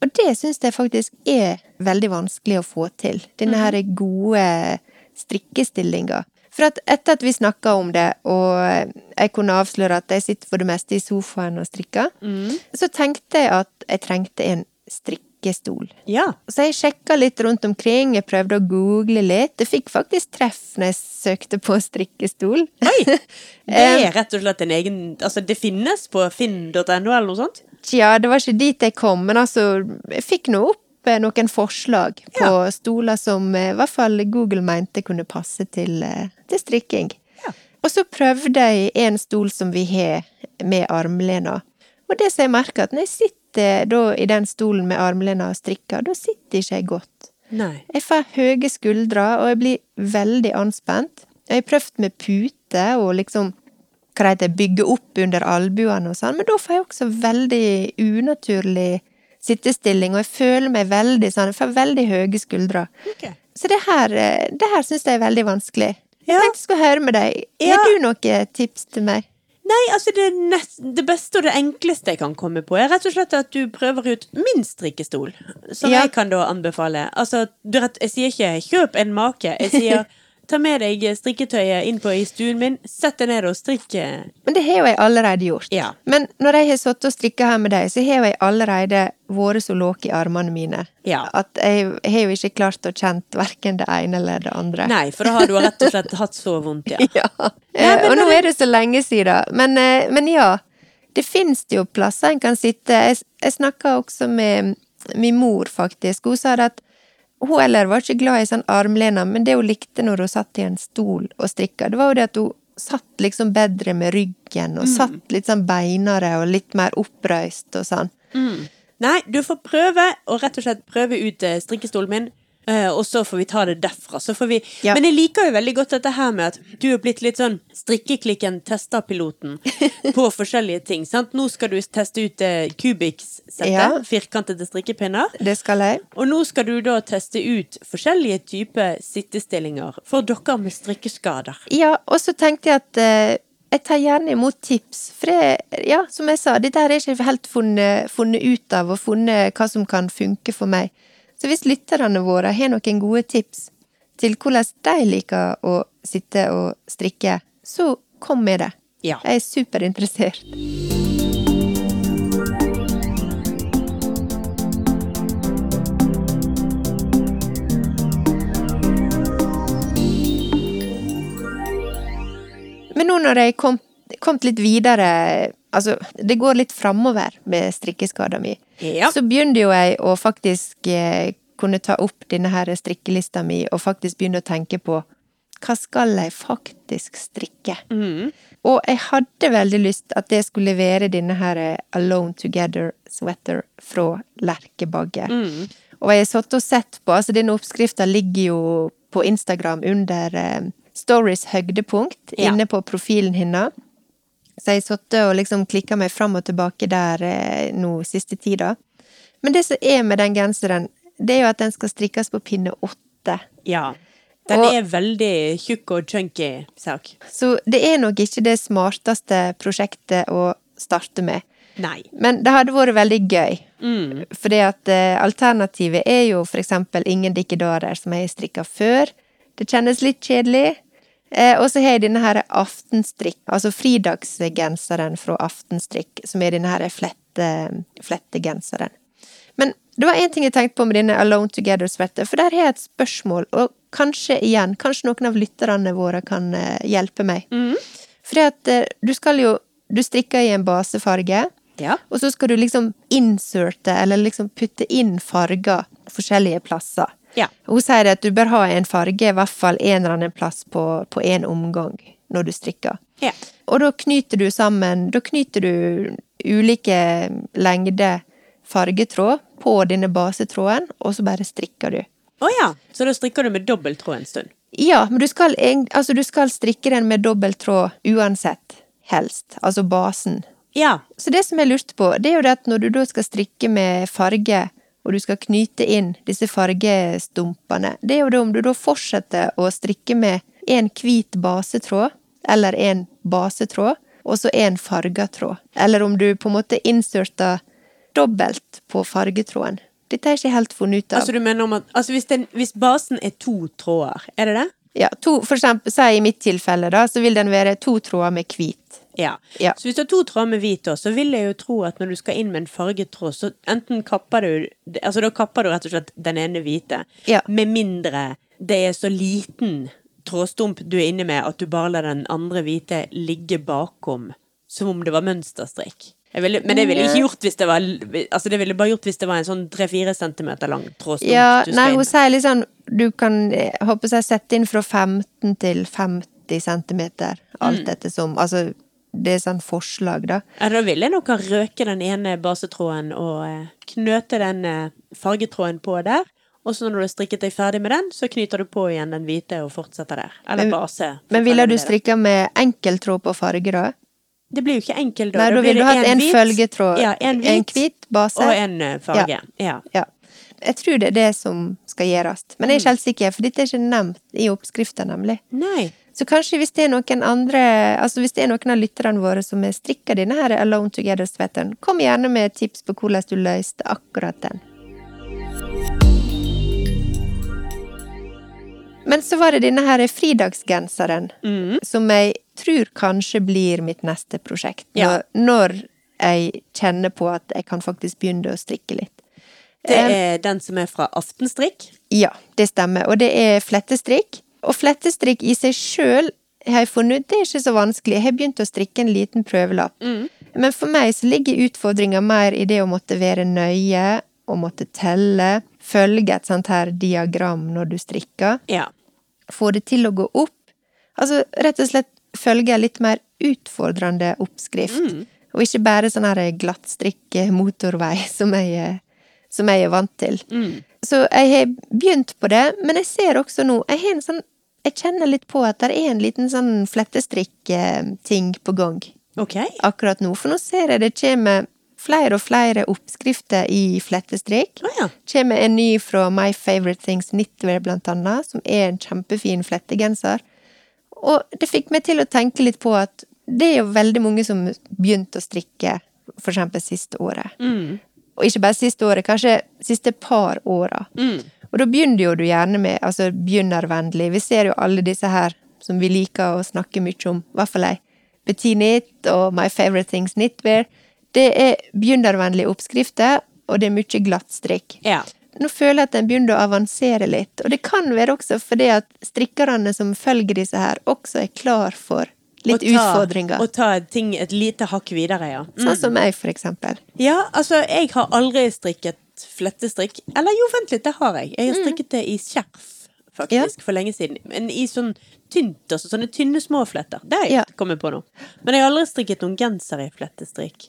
[SPEAKER 2] Og det syns jeg faktisk er veldig vanskelig å få til. Denne her gode strikkestillinga. For at etter at vi snakka om det, og jeg kunne avsløre at jeg sitter for det meste i sofaen og strikker, så tenkte jeg at jeg trengte en strikkestol.
[SPEAKER 1] Ja.
[SPEAKER 2] Så jeg sjekka litt rundt omkring, jeg prøvde å google litt. Jeg fikk faktisk treff når jeg søkte på strikkestol.
[SPEAKER 1] [LAUGHS] Oi! Det er rett og slett en egen Altså, det finnes på finn.no eller noe sånt?
[SPEAKER 2] Tja, det var ikke dit jeg kom, men altså, jeg fikk nå opp eh, noen forslag på stoler som eh, i hvert fall Google mente kunne passe til, eh, til strikking.
[SPEAKER 1] Ja.
[SPEAKER 2] Og så prøvde jeg en stol som vi har med armlena. Og det som jeg merker, at når jeg sitter da i den stolen med armlena og strikker, da sitter ikke jeg godt.
[SPEAKER 1] Nei.
[SPEAKER 2] Jeg får høye skuldre, og jeg blir veldig anspent. Jeg har prøvd med pute og liksom hva det heter, bygge opp under albuene og sånn, men da får jeg også veldig unaturlig sittestilling, og jeg føler meg veldig sånn, jeg får veldig høye skuldre. Så det her, eh, det her syns jeg er veldig vanskelig.
[SPEAKER 1] Ja.
[SPEAKER 2] Jeg tenkte jeg skulle høre med deg.
[SPEAKER 1] Ja.
[SPEAKER 2] Har du noen tips til meg?
[SPEAKER 1] Nei, altså, det, er nest, det beste og det enkleste jeg kan komme på, er rett og slett at du prøver ut min strikkestol. Som
[SPEAKER 2] Ja.
[SPEAKER 1] jeg kan da anbefale. Altså, du vet, jeg sier ikke 'kjøp en make'. Jeg [LAUGHS] sier ta med deg strikketøyet inn på i stuen min, sett deg ned og strikk. eh,
[SPEAKER 2] Men det har jo jeg allerede gjort.
[SPEAKER 1] Ja.
[SPEAKER 2] Men når jeg har sittet og strikka her med deg, så har jo jeg allerede vært så låg i armene mine
[SPEAKER 1] Ja.
[SPEAKER 2] at jeg har jo ikke klart å kjent verken det ene eller det andre.
[SPEAKER 1] Nei, for da har du rett og slett hatt så vondt, [LAUGHS] ja.
[SPEAKER 2] [LAUGHS] Ja.
[SPEAKER 1] Nei, men
[SPEAKER 2] Eh, og nå
[SPEAKER 1] når-
[SPEAKER 2] er det så lenge siden, men, eh, men ja. Det fins jo plasser en kan sitte. Jeg, jeg snakka også med min mor, faktisk. Hun sa det at hun heller var ikke glad i sånn armlene, men det hun likte når hun satt i en stol og strikka, det var jo det at hun satt liksom bedre med ryggen,
[SPEAKER 1] Mm.
[SPEAKER 2] og satt litt sånn beinere og litt mer oppreist og sånn.
[SPEAKER 1] Nei, du får prøve og rett og slett prøve ut eh, strikkestolen min. eh, og så får vi ta det derfra. Så får vi...
[SPEAKER 2] Ja.
[SPEAKER 1] Men jeg liker jo veldig godt dette her med at du er blitt litt sånn strikkeklikken tester piloten
[SPEAKER 2] [LAUGHS]
[SPEAKER 1] på forskjellige ting. sant? Nå skal du teste ut eh, Cubics-settet,
[SPEAKER 2] Ja.
[SPEAKER 1] firkantede strikkepinner.
[SPEAKER 2] Det skal jeg.
[SPEAKER 1] Og nå skal du da teste ut forskjellige typer sittestillinger for dere med strikkeskader.
[SPEAKER 2] Ja, og så tenkte jeg at eh, jeg tar gjerne imot tips, for jeg, ja, som jeg sa, dette her er ikke helt funnet, funnet ut av, og funnet hva som kan funke for meg. Så hvis lytterne våre har noen gode tips til hvordan de liker å sitte og strikke, så kom med det.
[SPEAKER 1] Ja.
[SPEAKER 2] Jeg er superinteressert. Men nå når jeg kom, kommet litt videre Altså, det går litt framover med strikkeskada mi.
[SPEAKER 1] Ja.
[SPEAKER 2] Så begynte jo jeg å faktisk eh, kunne ta opp denne her strikkelista mi og faktisk begynne å tenke på hva skal jeg faktisk strikke? Og jeg hadde veldig lyst at det skulle være denne her eh, Alone Together-sweater fra Lerkebagge. Og jeg har satt og sett på, altså denne oppskrifta ligger jo på Instagram under eh, Stories høydepunkt,
[SPEAKER 1] Ja.
[SPEAKER 2] inne på profilen hennes. Så jeg satt og liksom klikka meg fram og tilbake der eh, nå siste tida. Men det som er med den genseren, det er jo at den skal strikkes på pinne åtte.
[SPEAKER 1] Ja. Den
[SPEAKER 2] Og-
[SPEAKER 1] er veldig tjukk og chunky sak.
[SPEAKER 2] Så det er nok ikke det smarteste prosjektet å starte med.
[SPEAKER 1] Nei.
[SPEAKER 2] Men det hadde vært veldig gøy. Fordi at eh, alternativet er jo for eksempel ingen dikkedarer som jeg har strikka før. Det kjennes litt kjedelig. Eh, og så har jeg denne her aftenstrikk, altså fridagsgenseren fra Aftenstrikk, som er denne her flette, flettegenseren. Men det var én ting jeg tenkte på med denne Alone Together-svette, for der har jeg et spørsmål, og kanskje igjen, kanskje noen av lytterne våre kan eh, hjelpe meg. Fordi at eh, du skal jo Du strikker i en basefarge.
[SPEAKER 1] Ja.
[SPEAKER 2] Og så skal du liksom inserte, eller liksom putte inn farger forskjellige plasser.
[SPEAKER 1] Ja.
[SPEAKER 2] Hun sier at du bør ha en farge, i hvert fall en eller annen plass på, på en omgang, når du strikker.
[SPEAKER 1] Ja.
[SPEAKER 2] Og da knyter du sammen Da knyter du ulike lengder fargetråd på denne basetråden, og så bare strikker du.
[SPEAKER 1] Å ja. Så da strikker du med dobbelttråd en stund.
[SPEAKER 2] Ja, men du skal, eng- altså du skal strikke den med dobbelttråd uansett, helst. Altså basen.
[SPEAKER 1] Ja.
[SPEAKER 2] Så det som jeg lurte på, det er jo det at når du da skal strikke med farge, og du skal knyte inn disse fargestumpene, det er jo det om du da fortsetter å strikke med en hvit basetråd, eller en basetråd, og så en fargetråd. Eller om du på en måte inserter dobbelt på fargetråden. Dette er jeg ikke helt funnet ut av.
[SPEAKER 1] Altså, du mener om at, altså hvis, den, hvis basen er to tråder, er det det?
[SPEAKER 2] ja, to, for eksempel, si i mitt tilfelle da, så vil den være to tråder med hvit.
[SPEAKER 1] Ja.
[SPEAKER 2] Ja.
[SPEAKER 1] Så hvis du har to tråder med hvit, da, så vil jeg jo tro at når du skal inn med en farget tråd, så enten kapper du Altså da kapper du rett og slett den ene hvite,
[SPEAKER 2] Ja.
[SPEAKER 1] med mindre det er så liten trådstump du er inne med at du bare lar den andre hvite ligge bakom, som om det var mønsterstrikk. Jeg ville, men det ville jeg ikke gjort hvis det var Altså det ville jeg bare gjort hvis det var en sånn 3-4 centimeter lang trådstump.
[SPEAKER 2] Ja,
[SPEAKER 1] du skal
[SPEAKER 2] nei,
[SPEAKER 1] inn
[SPEAKER 2] hun
[SPEAKER 1] med.
[SPEAKER 2] sier liksom Du kan eh, håper jeg, sette inn fra 15 til 50 centimeter Alt
[SPEAKER 1] Mm.
[SPEAKER 2] ettersom. Altså, det er sånn forslag, da.
[SPEAKER 1] Ja, da ville jeg nok ha røket den ene basetråden og eh, knøte den eh, fargetråden på der. Og så når du har strikket deg ferdig med den, så knyter du på igjen den hvite og fortsetter der. Eller base.
[SPEAKER 2] Men ville du
[SPEAKER 1] Det da.
[SPEAKER 2] strikka med enkeltråd på farge, da?
[SPEAKER 1] Det blir jo ikke enkelt.
[SPEAKER 2] Nei, da
[SPEAKER 1] blir
[SPEAKER 2] ville du
[SPEAKER 1] det
[SPEAKER 2] hatt
[SPEAKER 1] en
[SPEAKER 2] en
[SPEAKER 1] hvit-
[SPEAKER 2] følgetråd.
[SPEAKER 1] Ja, en hvit,
[SPEAKER 2] En hvit base.
[SPEAKER 1] og en eh, farge. Ja.
[SPEAKER 2] Ja. Jeg tror det er det som skal gjøres.
[SPEAKER 1] Mm.
[SPEAKER 2] Men jeg er ikke helt sikker, for dette er ikke nevnt i oppskrifta, nemlig.
[SPEAKER 1] Nei.
[SPEAKER 2] Så kanskje hvis det er noen andre, altså hvis det er noen av lytterne våre som har strikka denne her Alone Together-svetteren, kom gjerne med tips på hvordan du løste akkurat den. Men så var det denne her fridagsgenseren, som jeg tror kanskje blir mitt neste prosjekt.
[SPEAKER 1] Ja.
[SPEAKER 2] Når, når jeg kjenner på at jeg kan faktisk begynne å strikke litt. Eh.
[SPEAKER 1] Det er den som er fra Aftenstrikk.
[SPEAKER 2] Ja, det stemmer. Og det er flettestrikk. Og flettestrikk i seg sjøl har jeg funnet ut, det er ikke så vanskelig. Jeg har begynt å strikke en liten prøvelapp. Men for meg så ligger utfordringa mer i det å måtte være nøye, å måtte telle, følge et sånt her diagram når du strikker
[SPEAKER 1] Ja.
[SPEAKER 2] få det til å gå opp. Altså rett og slett følge en litt mer utfordrende oppskrift. Og ikke bare sånn her glattstrikk eh, motorvei [LAUGHS] som jeg, eh, som jeg er vant til. Så jeg har begynt på det, men jeg ser også nå Jeg, har en sånn, jeg kjenner litt på at det er en liten sånn flettestrikk-ting på gang
[SPEAKER 1] Ok.
[SPEAKER 2] akkurat nå. For nå ser jeg det kommer flere og flere oppskrifter i flettestrikk.
[SPEAKER 1] Å ja.
[SPEAKER 2] Kommer en ny fra My Favorite Things Knitwear, blant annet, som er en kjempefin flettegenser. Og det fikk meg til å tenke litt på at det er jo veldig mange som begynte å strikke, for eksempel siste året. Og ikke bare siste året, kanskje siste par åra. Og da begynner jo du gjerne med altså begynnervennlig. Vi ser jo alle disse her som vi liker å snakke mye om, i hvert fall jeg. Betinit og My Favorite Things Knitwear. Det er begynnervennlige oppskrifter, og det er mye glattstrikk.
[SPEAKER 1] Ja.
[SPEAKER 2] Nå føler jeg at den begynner å avansere litt, og det kan være også fordi at strikkerne som følger disse her, også er klar for litt
[SPEAKER 1] Å ta-
[SPEAKER 2] utfordringer.
[SPEAKER 1] Å ta ting et lite hakk videre, ja. Mm.
[SPEAKER 2] Sånn som meg, for eksempel.
[SPEAKER 1] Ja, altså, jeg
[SPEAKER 2] Mm.
[SPEAKER 1] har aldri strikket flettestrikk. Eller jo, vent litt, det har jeg. Jeg har strikket det i skjerf faktisk, for lenge siden. Men i sånn tynt, altså sånne tynne små fletter. Det har jeg
[SPEAKER 2] Ja.
[SPEAKER 1] kommet på nå. Men jeg har aldri strikket noen genser i flettestrikk.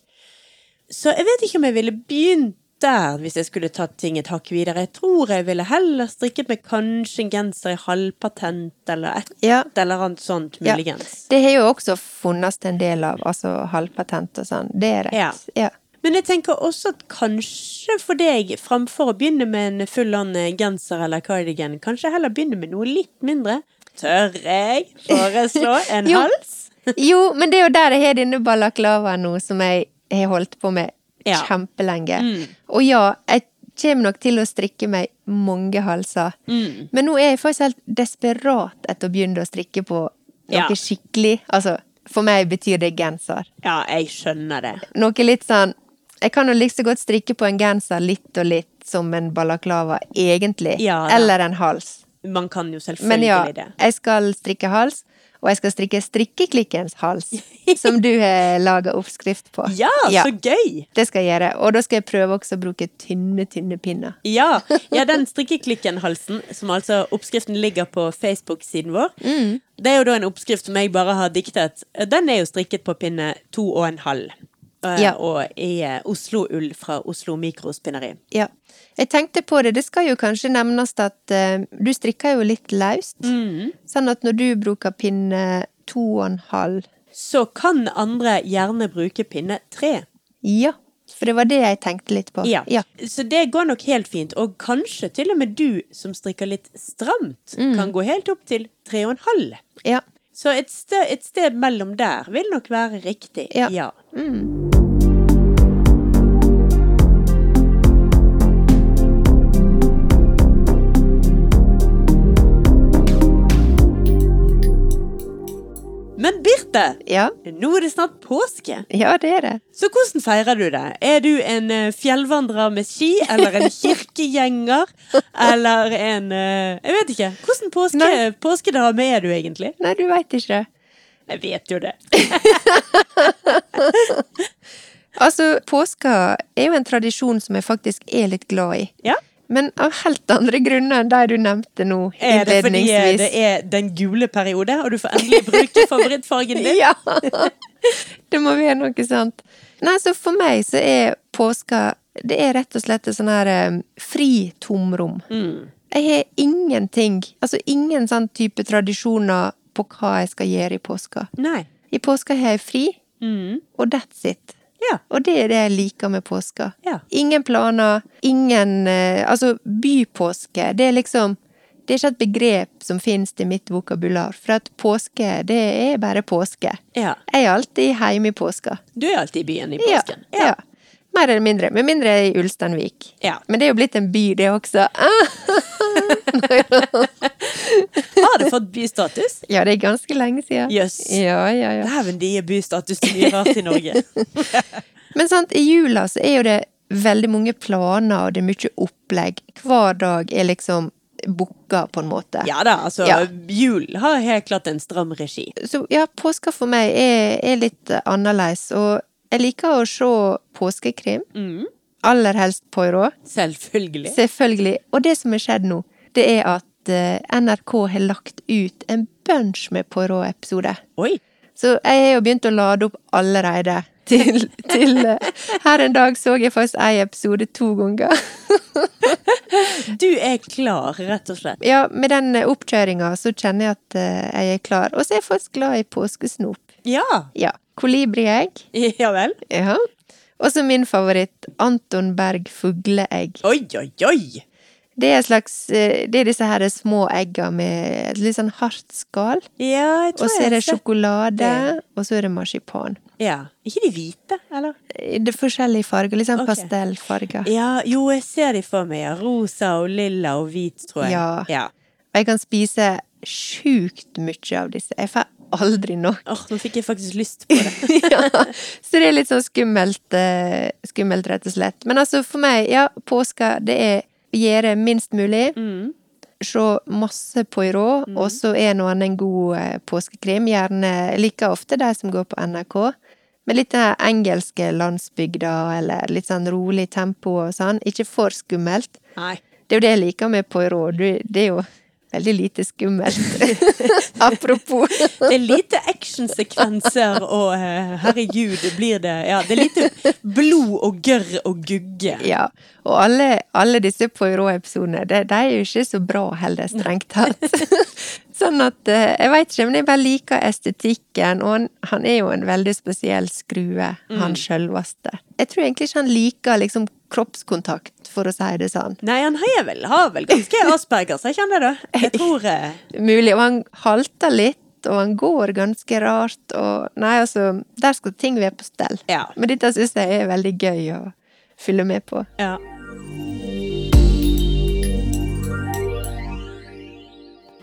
[SPEAKER 1] Så jeg vet ikke om jeg ville begynt der hvis jeg skulle tatt ting et hakk videre. Jeg tror jeg ville heller strikket meg kanskje en genser i halvpatent eller et
[SPEAKER 2] Ja.
[SPEAKER 1] eller annet sånt,
[SPEAKER 2] Ja.
[SPEAKER 1] muligens.
[SPEAKER 2] Det har jo også funnes en del av, altså halvpatent og sånn. Det er rett. Ja.
[SPEAKER 1] Men jeg tenker også at kanskje for deg, framfor å begynne med en full-on genser eller cardigan, kanskje heller begynne med noe litt mindre. Tør jeg foreslå
[SPEAKER 2] [LAUGHS]
[SPEAKER 1] en
[SPEAKER 2] Jo.
[SPEAKER 1] hals? [LAUGHS]
[SPEAKER 2] Jo, men det er jo der jeg har denne balaklavaen nå, som jeg har holdt på med
[SPEAKER 1] Ja. Mm.
[SPEAKER 2] kjempelenge. Og ja, jeg kommer nok til å strikke meg mange halser.
[SPEAKER 1] Mm.
[SPEAKER 2] Men nå er jeg faktisk helt desperat etter å begynne å strikke på noe
[SPEAKER 1] Ja.
[SPEAKER 2] skikkelig. Altså, for meg betyr det genser.
[SPEAKER 1] Ja, jeg skjønner det.
[SPEAKER 2] Noe litt sånn Jeg kan jo like så godt strikke på en genser litt og litt som en balaklava, egentlig.
[SPEAKER 1] Ja, da.
[SPEAKER 2] Eller en hals.
[SPEAKER 1] Man kan jo
[SPEAKER 2] Men
[SPEAKER 1] selvfølgelig
[SPEAKER 2] ja,
[SPEAKER 1] det.
[SPEAKER 2] jeg skal strikke hals, og jeg skal strikke strikkeklikkens
[SPEAKER 1] [LAUGHS]
[SPEAKER 2] hals, som du har laga oppskrift på.
[SPEAKER 1] Ja, så gøy!
[SPEAKER 2] Det skal jeg gjøre. Og da skal jeg prøve også å bruke tynne, tynne pinner.
[SPEAKER 1] Ja, ja den strikkeklikken-halsen, som altså oppskriften ligger på Facebook-siden vår,
[SPEAKER 2] Mm.
[SPEAKER 1] det er jo da en oppskrift som jeg bare har diktet. Den er jo strikket på pinne to og en halv. eh,
[SPEAKER 2] Ja.
[SPEAKER 1] Og i eh, Oslo-ull fra Oslo Mikrospinneri.
[SPEAKER 2] Ja. Jeg tenkte på det, det skal jo kanskje nevnes at eh, du strikker jo litt løst.
[SPEAKER 1] Mm.
[SPEAKER 2] Sånn at når du bruker pinne to og en halv
[SPEAKER 1] så kan andre gjerne bruke pinne tre.
[SPEAKER 2] Ja, for det var det jeg tenkte litt på.
[SPEAKER 1] Ja.
[SPEAKER 2] ja.
[SPEAKER 1] Så det går nok helt fint. Og kanskje til og med du som strikker litt stramt,
[SPEAKER 2] Mm.
[SPEAKER 1] kan gå helt opp til tre og en halv.
[SPEAKER 2] ja.
[SPEAKER 1] Så et sted, et sted mellom der vil nok være riktig.
[SPEAKER 2] Ja. Mm.
[SPEAKER 1] Men Birte,
[SPEAKER 2] Ja.
[SPEAKER 1] nå er det snart påske.
[SPEAKER 2] ja, det er det.
[SPEAKER 1] Så hvordan feirer du det? Er du en eh, fjellvandrer med ski, eller
[SPEAKER 2] [LAUGHS]
[SPEAKER 1] en kirkegjenger, eller en eh, Jeg vet ikke. Hvordan påske,
[SPEAKER 2] Nei.
[SPEAKER 1] påskedame er du egentlig?
[SPEAKER 2] Nei, du veit ikke.
[SPEAKER 1] Jeg vet jo det.
[SPEAKER 2] Altså, påska er jo en tradisjon som jeg faktisk er litt glad i.
[SPEAKER 1] Ja.
[SPEAKER 2] Men av helt andre grunner enn de du nevnte nå.
[SPEAKER 1] Er det fordi eh,
[SPEAKER 2] innledningsvis.
[SPEAKER 1] det er den gule periode, og du får endelig bruke favorittfargen din?
[SPEAKER 2] [LAUGHS] Ja! [LAUGHS] Det må være noe sånt. Nei, så for meg så er påska Det er rett og slett et sånn her eh, fri tomrom.
[SPEAKER 1] Mm.
[SPEAKER 2] Jeg har ingenting, altså ingen sånn type tradisjoner på hva jeg skal gjøre i påska.
[SPEAKER 1] Nei.
[SPEAKER 2] I påska har jeg fri,
[SPEAKER 1] Mm.
[SPEAKER 2] og that's it.
[SPEAKER 1] Ja.
[SPEAKER 2] Og det er det jeg liker med påska.
[SPEAKER 1] Ja.
[SPEAKER 2] Ingen planer, ingen eh, Altså, bypåske, det er liksom Det er ikke et begrep som finnes i mitt vokabular, for at påske, det er bare påske.
[SPEAKER 1] ja.
[SPEAKER 2] Jeg er alltid hjemme i påska.
[SPEAKER 1] Du er alltid i byen i påsken.
[SPEAKER 2] Ja, ja. Mer eller mindre. Med mindre jeg er i Ulsteinvik.
[SPEAKER 1] Ja.
[SPEAKER 2] Men det er jo blitt en by, det også. Ah,
[SPEAKER 1] Har du fått bystatus?
[SPEAKER 2] Ja, det er ganske lenge siden.
[SPEAKER 1] Jøss.
[SPEAKER 2] Ja, ja, ja.
[SPEAKER 1] Dæven, de gir bystatus til mye rart i
[SPEAKER 2] [LAUGHS]
[SPEAKER 1] Norge.
[SPEAKER 2] Men sant, i jula så er jo det veldig mange planer, og det er mye opplegg. Hver dag er liksom booka, på en måte.
[SPEAKER 1] Ja da, altså.
[SPEAKER 2] Ja.
[SPEAKER 1] Jul har helt klart en stram regi.
[SPEAKER 2] Så ja, påska for meg er, er litt eh, annerledes, og jeg liker å se påskekrim. Aller helst Poirot,
[SPEAKER 1] Selvfølgelig.
[SPEAKER 2] selvfølgelig. Og det som er skjedd nå, det er at eh, NRK har lagt ut en bunch med Poirot-episoder.
[SPEAKER 1] Oi.
[SPEAKER 2] Så jeg har jo begynt å lade opp allerede. [LAUGHS] Til, til eh, Her en dag så jeg faktisk ei episode to ganger. [LAUGHS]
[SPEAKER 1] Du er klar, rett og slett.
[SPEAKER 2] Ja, med den oppkjøringa så kjenner jeg at eh, jeg er klar. Og så er jeg faktisk glad i påskesnop.
[SPEAKER 1] Ja.
[SPEAKER 2] Ja. Kolibriegg.
[SPEAKER 1] Ja vel.
[SPEAKER 2] Ja. Og så min favoritt, Anton Berg fugleegg.
[SPEAKER 1] Oi, oi, oi.
[SPEAKER 2] Det er, en slags, eh, det er disse her små egga med et litt sånn hardt skall.
[SPEAKER 1] Ja, jeg tror
[SPEAKER 2] Og så er
[SPEAKER 1] jeg
[SPEAKER 2] det
[SPEAKER 1] har sett-
[SPEAKER 2] sjokolade,
[SPEAKER 1] det.
[SPEAKER 2] og så er det marsipan.
[SPEAKER 1] Ja. Ikke de hvite, eller?
[SPEAKER 2] Eh, Det er forskjellige farger. Litt sånn
[SPEAKER 1] Ok.
[SPEAKER 2] pastellfarger.
[SPEAKER 1] Ja, jo, jeg ser de for meg. ja. Rosa og lilla og hvit, tror jeg.
[SPEAKER 2] Ja.
[SPEAKER 1] ja.
[SPEAKER 2] Og jeg kan spise sjukt mye av disse. Jeg får aldri nok.
[SPEAKER 1] Åh, nå fikk jeg faktisk lyst på det.
[SPEAKER 2] ja. Så det er litt sånn skummelt, eh, skummelt, rett og slett. Men altså, for meg, ja, påska, det er å gjøre minst mulig. Se masse Poirot, og så en og annen god eh, påskekrim. Gjerne jeg liker ofte de som går på NRK. Men litt den her engelske landsbygda, eller litt sånn rolig tempo og sånn. Ikke for skummelt.
[SPEAKER 1] Nei.
[SPEAKER 2] Det er jo det jeg liker med Poirot. Du, det er jo Veldig lite skummelt. [LAUGHS] Apropos.
[SPEAKER 1] Det er lite actionsekvenser og eh, herregud, det blir det Ja, det er lite blod og gørr og gugge.
[SPEAKER 2] Ja, og alle, alle disse Poirot-episodene, de, de er jo ikke så bra heller, strengt tatt. [LAUGHS] sånn at eh, Jeg vet ikke, men jeg bare liker estetikken, og han, han er jo en veldig spesiell skrue, han sjølveste. Jeg tror egentlig ikke han liker liksom kroppskontakt, for å si det sånn.
[SPEAKER 1] Nei, han har vel, har vel ganske aspergers, jeg kjenner det. Jeg tror eh,
[SPEAKER 2] Mulig. Og han halter litt, og han går ganske rart, og Nei, altså, der skal ting være på stell.
[SPEAKER 1] Ja.
[SPEAKER 2] Men dette syns jeg er veldig gøy å følge med på.
[SPEAKER 1] ja.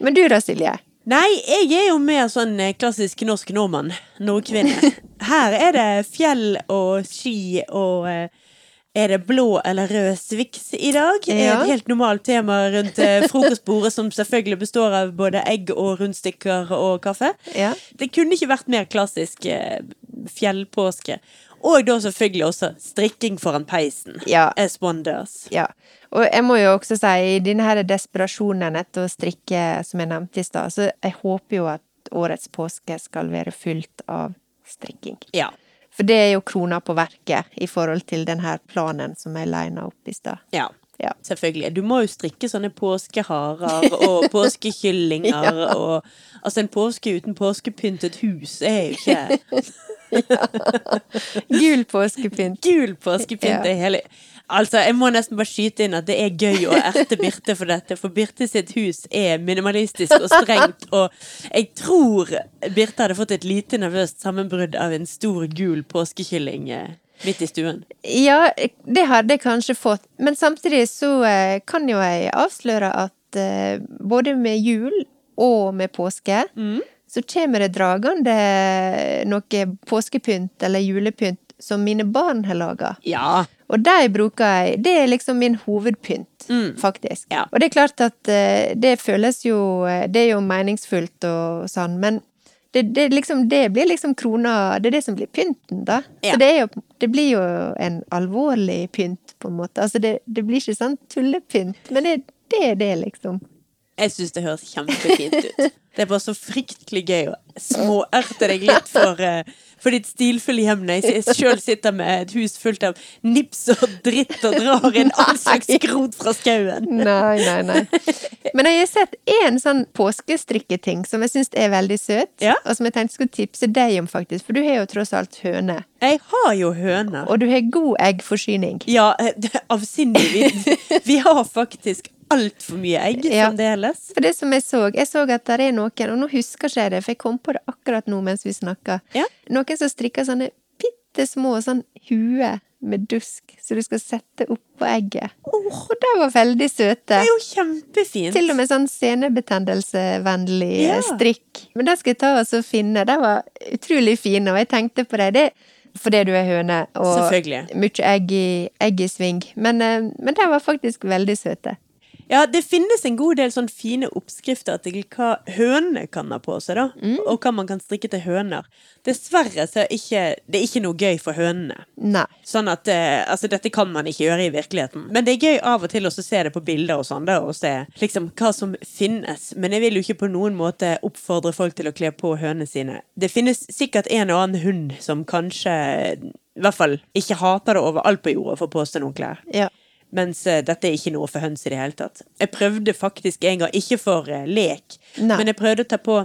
[SPEAKER 2] Men du da, Silje?
[SPEAKER 1] Nei, jeg er jo mer sånn eh, klassisk norsk nordmann.
[SPEAKER 2] [LAUGHS]
[SPEAKER 1] Nordkvinne. Her er det fjell og ski og eh, Er det blå eller rød sviks i dag? Det Er
[SPEAKER 2] Ja.
[SPEAKER 1] et helt normalt tema rundt eh, frokostbordet, som selvfølgelig består av både egg og rundstykker og kaffe.
[SPEAKER 2] Ja.
[SPEAKER 1] Det kunne ikke vært mer klassisk eh, fjellpåske. Og da selvfølgelig også strikking foran peisen.
[SPEAKER 2] Ja.
[SPEAKER 1] As one does.
[SPEAKER 2] Ja. Og jeg må jo også si, i denne her desperasjonen etter å strikke, som jeg nevnte i stad, så jeg håper jo at årets påske skal være fylt av strikking.
[SPEAKER 1] Ja.
[SPEAKER 2] For det er jo krona på verket i forhold til den her planen som jeg lina opp i stad.
[SPEAKER 1] ja.
[SPEAKER 2] Ja.
[SPEAKER 1] Selvfølgelig. Du må jo strikke sånne påskeharer og påskekyllinger og Altså, en påske uten påskepyntet hus er jo ikke
[SPEAKER 2] Gul påskepynt.
[SPEAKER 1] Gul påskepynt
[SPEAKER 2] Ja.
[SPEAKER 1] er hele Altså, jeg må nesten bare skyte inn at det er gøy å erte Birte for dette, for Birte sitt hus er minimalistisk og strengt, og jeg tror Birte hadde fått et lite nervøst sammenbrudd av en stor gul påskekylling eh, midt i stuen.
[SPEAKER 2] Ja, det hadde jeg kanskje fått, men samtidig så eh, kan jo jeg avsløre at eh, både med jul og med påske, så kommer det dragende noe påskepynt eller julepynt som mine barn har laga.
[SPEAKER 1] Ja.
[SPEAKER 2] Og de bruker jeg Det er liksom min hovedpynt, faktisk.
[SPEAKER 1] Mm. Ja.
[SPEAKER 2] Og det er klart at eh, det føles jo eh, Det er jo meningsfullt og sånn, men det, det, er liksom, det blir liksom krona Det er det som blir pynten, da.
[SPEAKER 1] Ja.
[SPEAKER 2] Så det, er jo, det blir jo en alvorlig pynt, på en måte. Altså, det, det blir ikke sånn tullepynt, men det, det er det,
[SPEAKER 1] [LAUGHS]
[SPEAKER 2] liksom.
[SPEAKER 1] Jeg syns det høres kjempefint ut. Det er bare så fryktelig gøy å småerte deg litt for, eh, for ditt stilfulle hjem når jeg sjøl sitter med et hus fullt av nips og dritt og drar inn all slags skrot fra skauen.
[SPEAKER 2] Nei, nei, nei. Men jeg har sett én sånn påskestrikketing som jeg syns er veldig søt,
[SPEAKER 1] Ja.
[SPEAKER 2] og som jeg tenkte skulle tipse deg om, faktisk. For du har jo tross alt høne.
[SPEAKER 1] Jeg har jo høner.
[SPEAKER 2] Og du har god eggforsyning.
[SPEAKER 1] Ja, eh, det er avsindig. Vi, vi har faktisk altfor mye egg
[SPEAKER 2] Ja.
[SPEAKER 1] fremdeles.
[SPEAKER 2] For det som jeg så, jeg så at det er noen, og nå husker ikke jeg det, for jeg kom på det akkurat nå mens vi snakka,
[SPEAKER 1] Ja.
[SPEAKER 2] noen som strikker sånne bitte små sånn hue med dusk, så du skal sette oppå egget. og de var veldig søte.
[SPEAKER 1] Det er jo kjempefint.
[SPEAKER 2] Til og med sånn senebetennelsevennlig eh,
[SPEAKER 1] Ja.
[SPEAKER 2] strikk. Men det skal jeg ta og så finne. De var utrolig fine, og jeg tenkte på deg. Det fordi du er høne, og
[SPEAKER 1] Selvfølgelig.
[SPEAKER 2] mye egg i, egg i sving. Men, eh, men de var faktisk veldig søte.
[SPEAKER 1] Ja, det finnes en god del sånn fine oppskrifter til hva hønene kan ha på seg, da. Og hva man kan strikke til høner. Dessverre så er ikke, det er ikke noe gøy for hønene.
[SPEAKER 2] Nei.
[SPEAKER 1] Sånn at, eh, altså Dette kan man ikke gjøre i virkeligheten. Men det er gøy av og til også å se det på bilder og sånn, da, og se liksom hva som finnes. Men jeg vil jo ikke på noen måte oppfordre folk til å kle på hønene sine. Det finnes sikkert en og annen hund som kanskje, i hvert fall, ikke hater det overalt på jorda for å påstå noen klær.
[SPEAKER 2] Ja.
[SPEAKER 1] Mens eh, dette er ikke noe for høns i det hele tatt. Jeg prøvde faktisk en gang, ikke for eh, lek,
[SPEAKER 2] Nei.
[SPEAKER 1] men jeg prøvde å ta på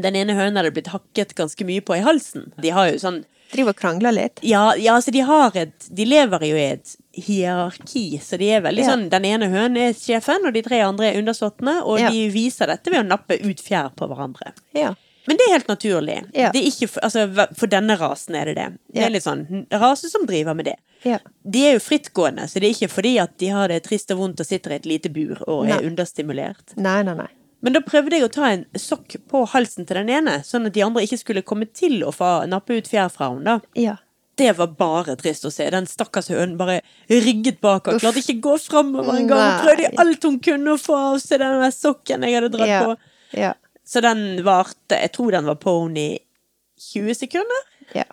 [SPEAKER 1] Den ene høna hadde blitt hakket ganske mye på i halsen. De har jo sånn
[SPEAKER 2] Driver og krangler litt.
[SPEAKER 1] Ja, ja altså, de har et De lever jo i et hierarki, så de er veldig
[SPEAKER 2] Ja.
[SPEAKER 1] sånn Den ene hønen er sjefen, og de tre andre er undersåttene, og
[SPEAKER 2] Ja.
[SPEAKER 1] de viser dette ved å nappe ut fjær på hverandre.
[SPEAKER 2] Ja.
[SPEAKER 1] Men det er helt naturlig.
[SPEAKER 2] Ja.
[SPEAKER 1] Det er ikke for, altså, hva- for denne rasen er det det. Det
[SPEAKER 2] Ja.
[SPEAKER 1] er litt sånn rase som driver med det.
[SPEAKER 2] Ja.
[SPEAKER 1] De er jo frittgående, så det er ikke fordi at de har det trist og vondt og sitter i et lite bur og er
[SPEAKER 2] Nei.
[SPEAKER 1] understimulert.
[SPEAKER 2] Nei, nei, nei.
[SPEAKER 1] Men da prøvde jeg å ta en sokk på halsen til den ene, sånn at de andre ikke skulle komme til å få nappe ut fjær fra henne. da.
[SPEAKER 2] Ja.
[SPEAKER 1] Det var bare trist å se. Den stakkars hønen bare rygget bakover. Klarte ikke gå framover engang. Hun prøvde
[SPEAKER 2] Nei.
[SPEAKER 1] alt hun kunne å få av seg den der sokken jeg hadde dratt
[SPEAKER 2] ja.
[SPEAKER 1] på.
[SPEAKER 2] Ja.
[SPEAKER 1] Så den varte Jeg tror den var på henne i 20 sekunder.
[SPEAKER 2] ja.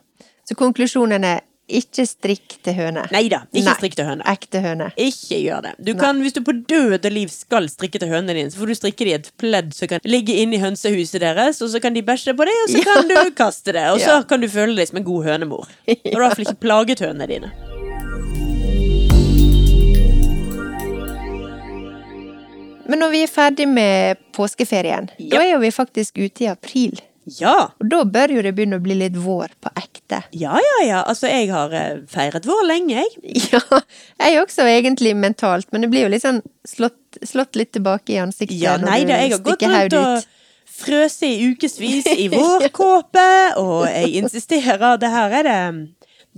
[SPEAKER 2] Så konklusjonen er ikke strikk til høne.
[SPEAKER 1] Nei da, ikke
[SPEAKER 2] Nei.
[SPEAKER 1] strikk til høne.
[SPEAKER 2] Ekte høne.
[SPEAKER 1] Ikke gjør det. Du kan, hvis du på død og liv skal strikke til hønene dine, så får du strikke dem i et pledd som kan ligge inni hønsehuset deres, og så kan de bæsje på det, og så
[SPEAKER 2] Ja.
[SPEAKER 1] kan du kaste det. Og så
[SPEAKER 2] Ja.
[SPEAKER 1] kan du føle deg som en god hønemor. Og du har i hvert fall ikke plaget hønene dine.
[SPEAKER 2] Men når vi er ferdig med påskeferien,
[SPEAKER 1] Ja.
[SPEAKER 2] da er jo vi faktisk ute i april.
[SPEAKER 1] Ja.
[SPEAKER 2] Og da bør jo det begynne å bli litt vår på ekte.
[SPEAKER 1] Ja, ja, ja. Altså, jeg har eh, feiret vår lenge, jeg.
[SPEAKER 2] Ja, [LAUGHS] jeg også egentlig mentalt, men det blir jo litt sånn slått, slått litt tilbake i ansiktet
[SPEAKER 1] Ja,
[SPEAKER 2] når
[SPEAKER 1] Eh, nei
[SPEAKER 2] du
[SPEAKER 1] da, jeg har gått
[SPEAKER 2] stikker
[SPEAKER 1] rundt
[SPEAKER 2] hodet ut.
[SPEAKER 1] og frøse i ukevis
[SPEAKER 2] [LAUGHS]
[SPEAKER 1] i vårkåpe, og jeg insisterer. Det her er det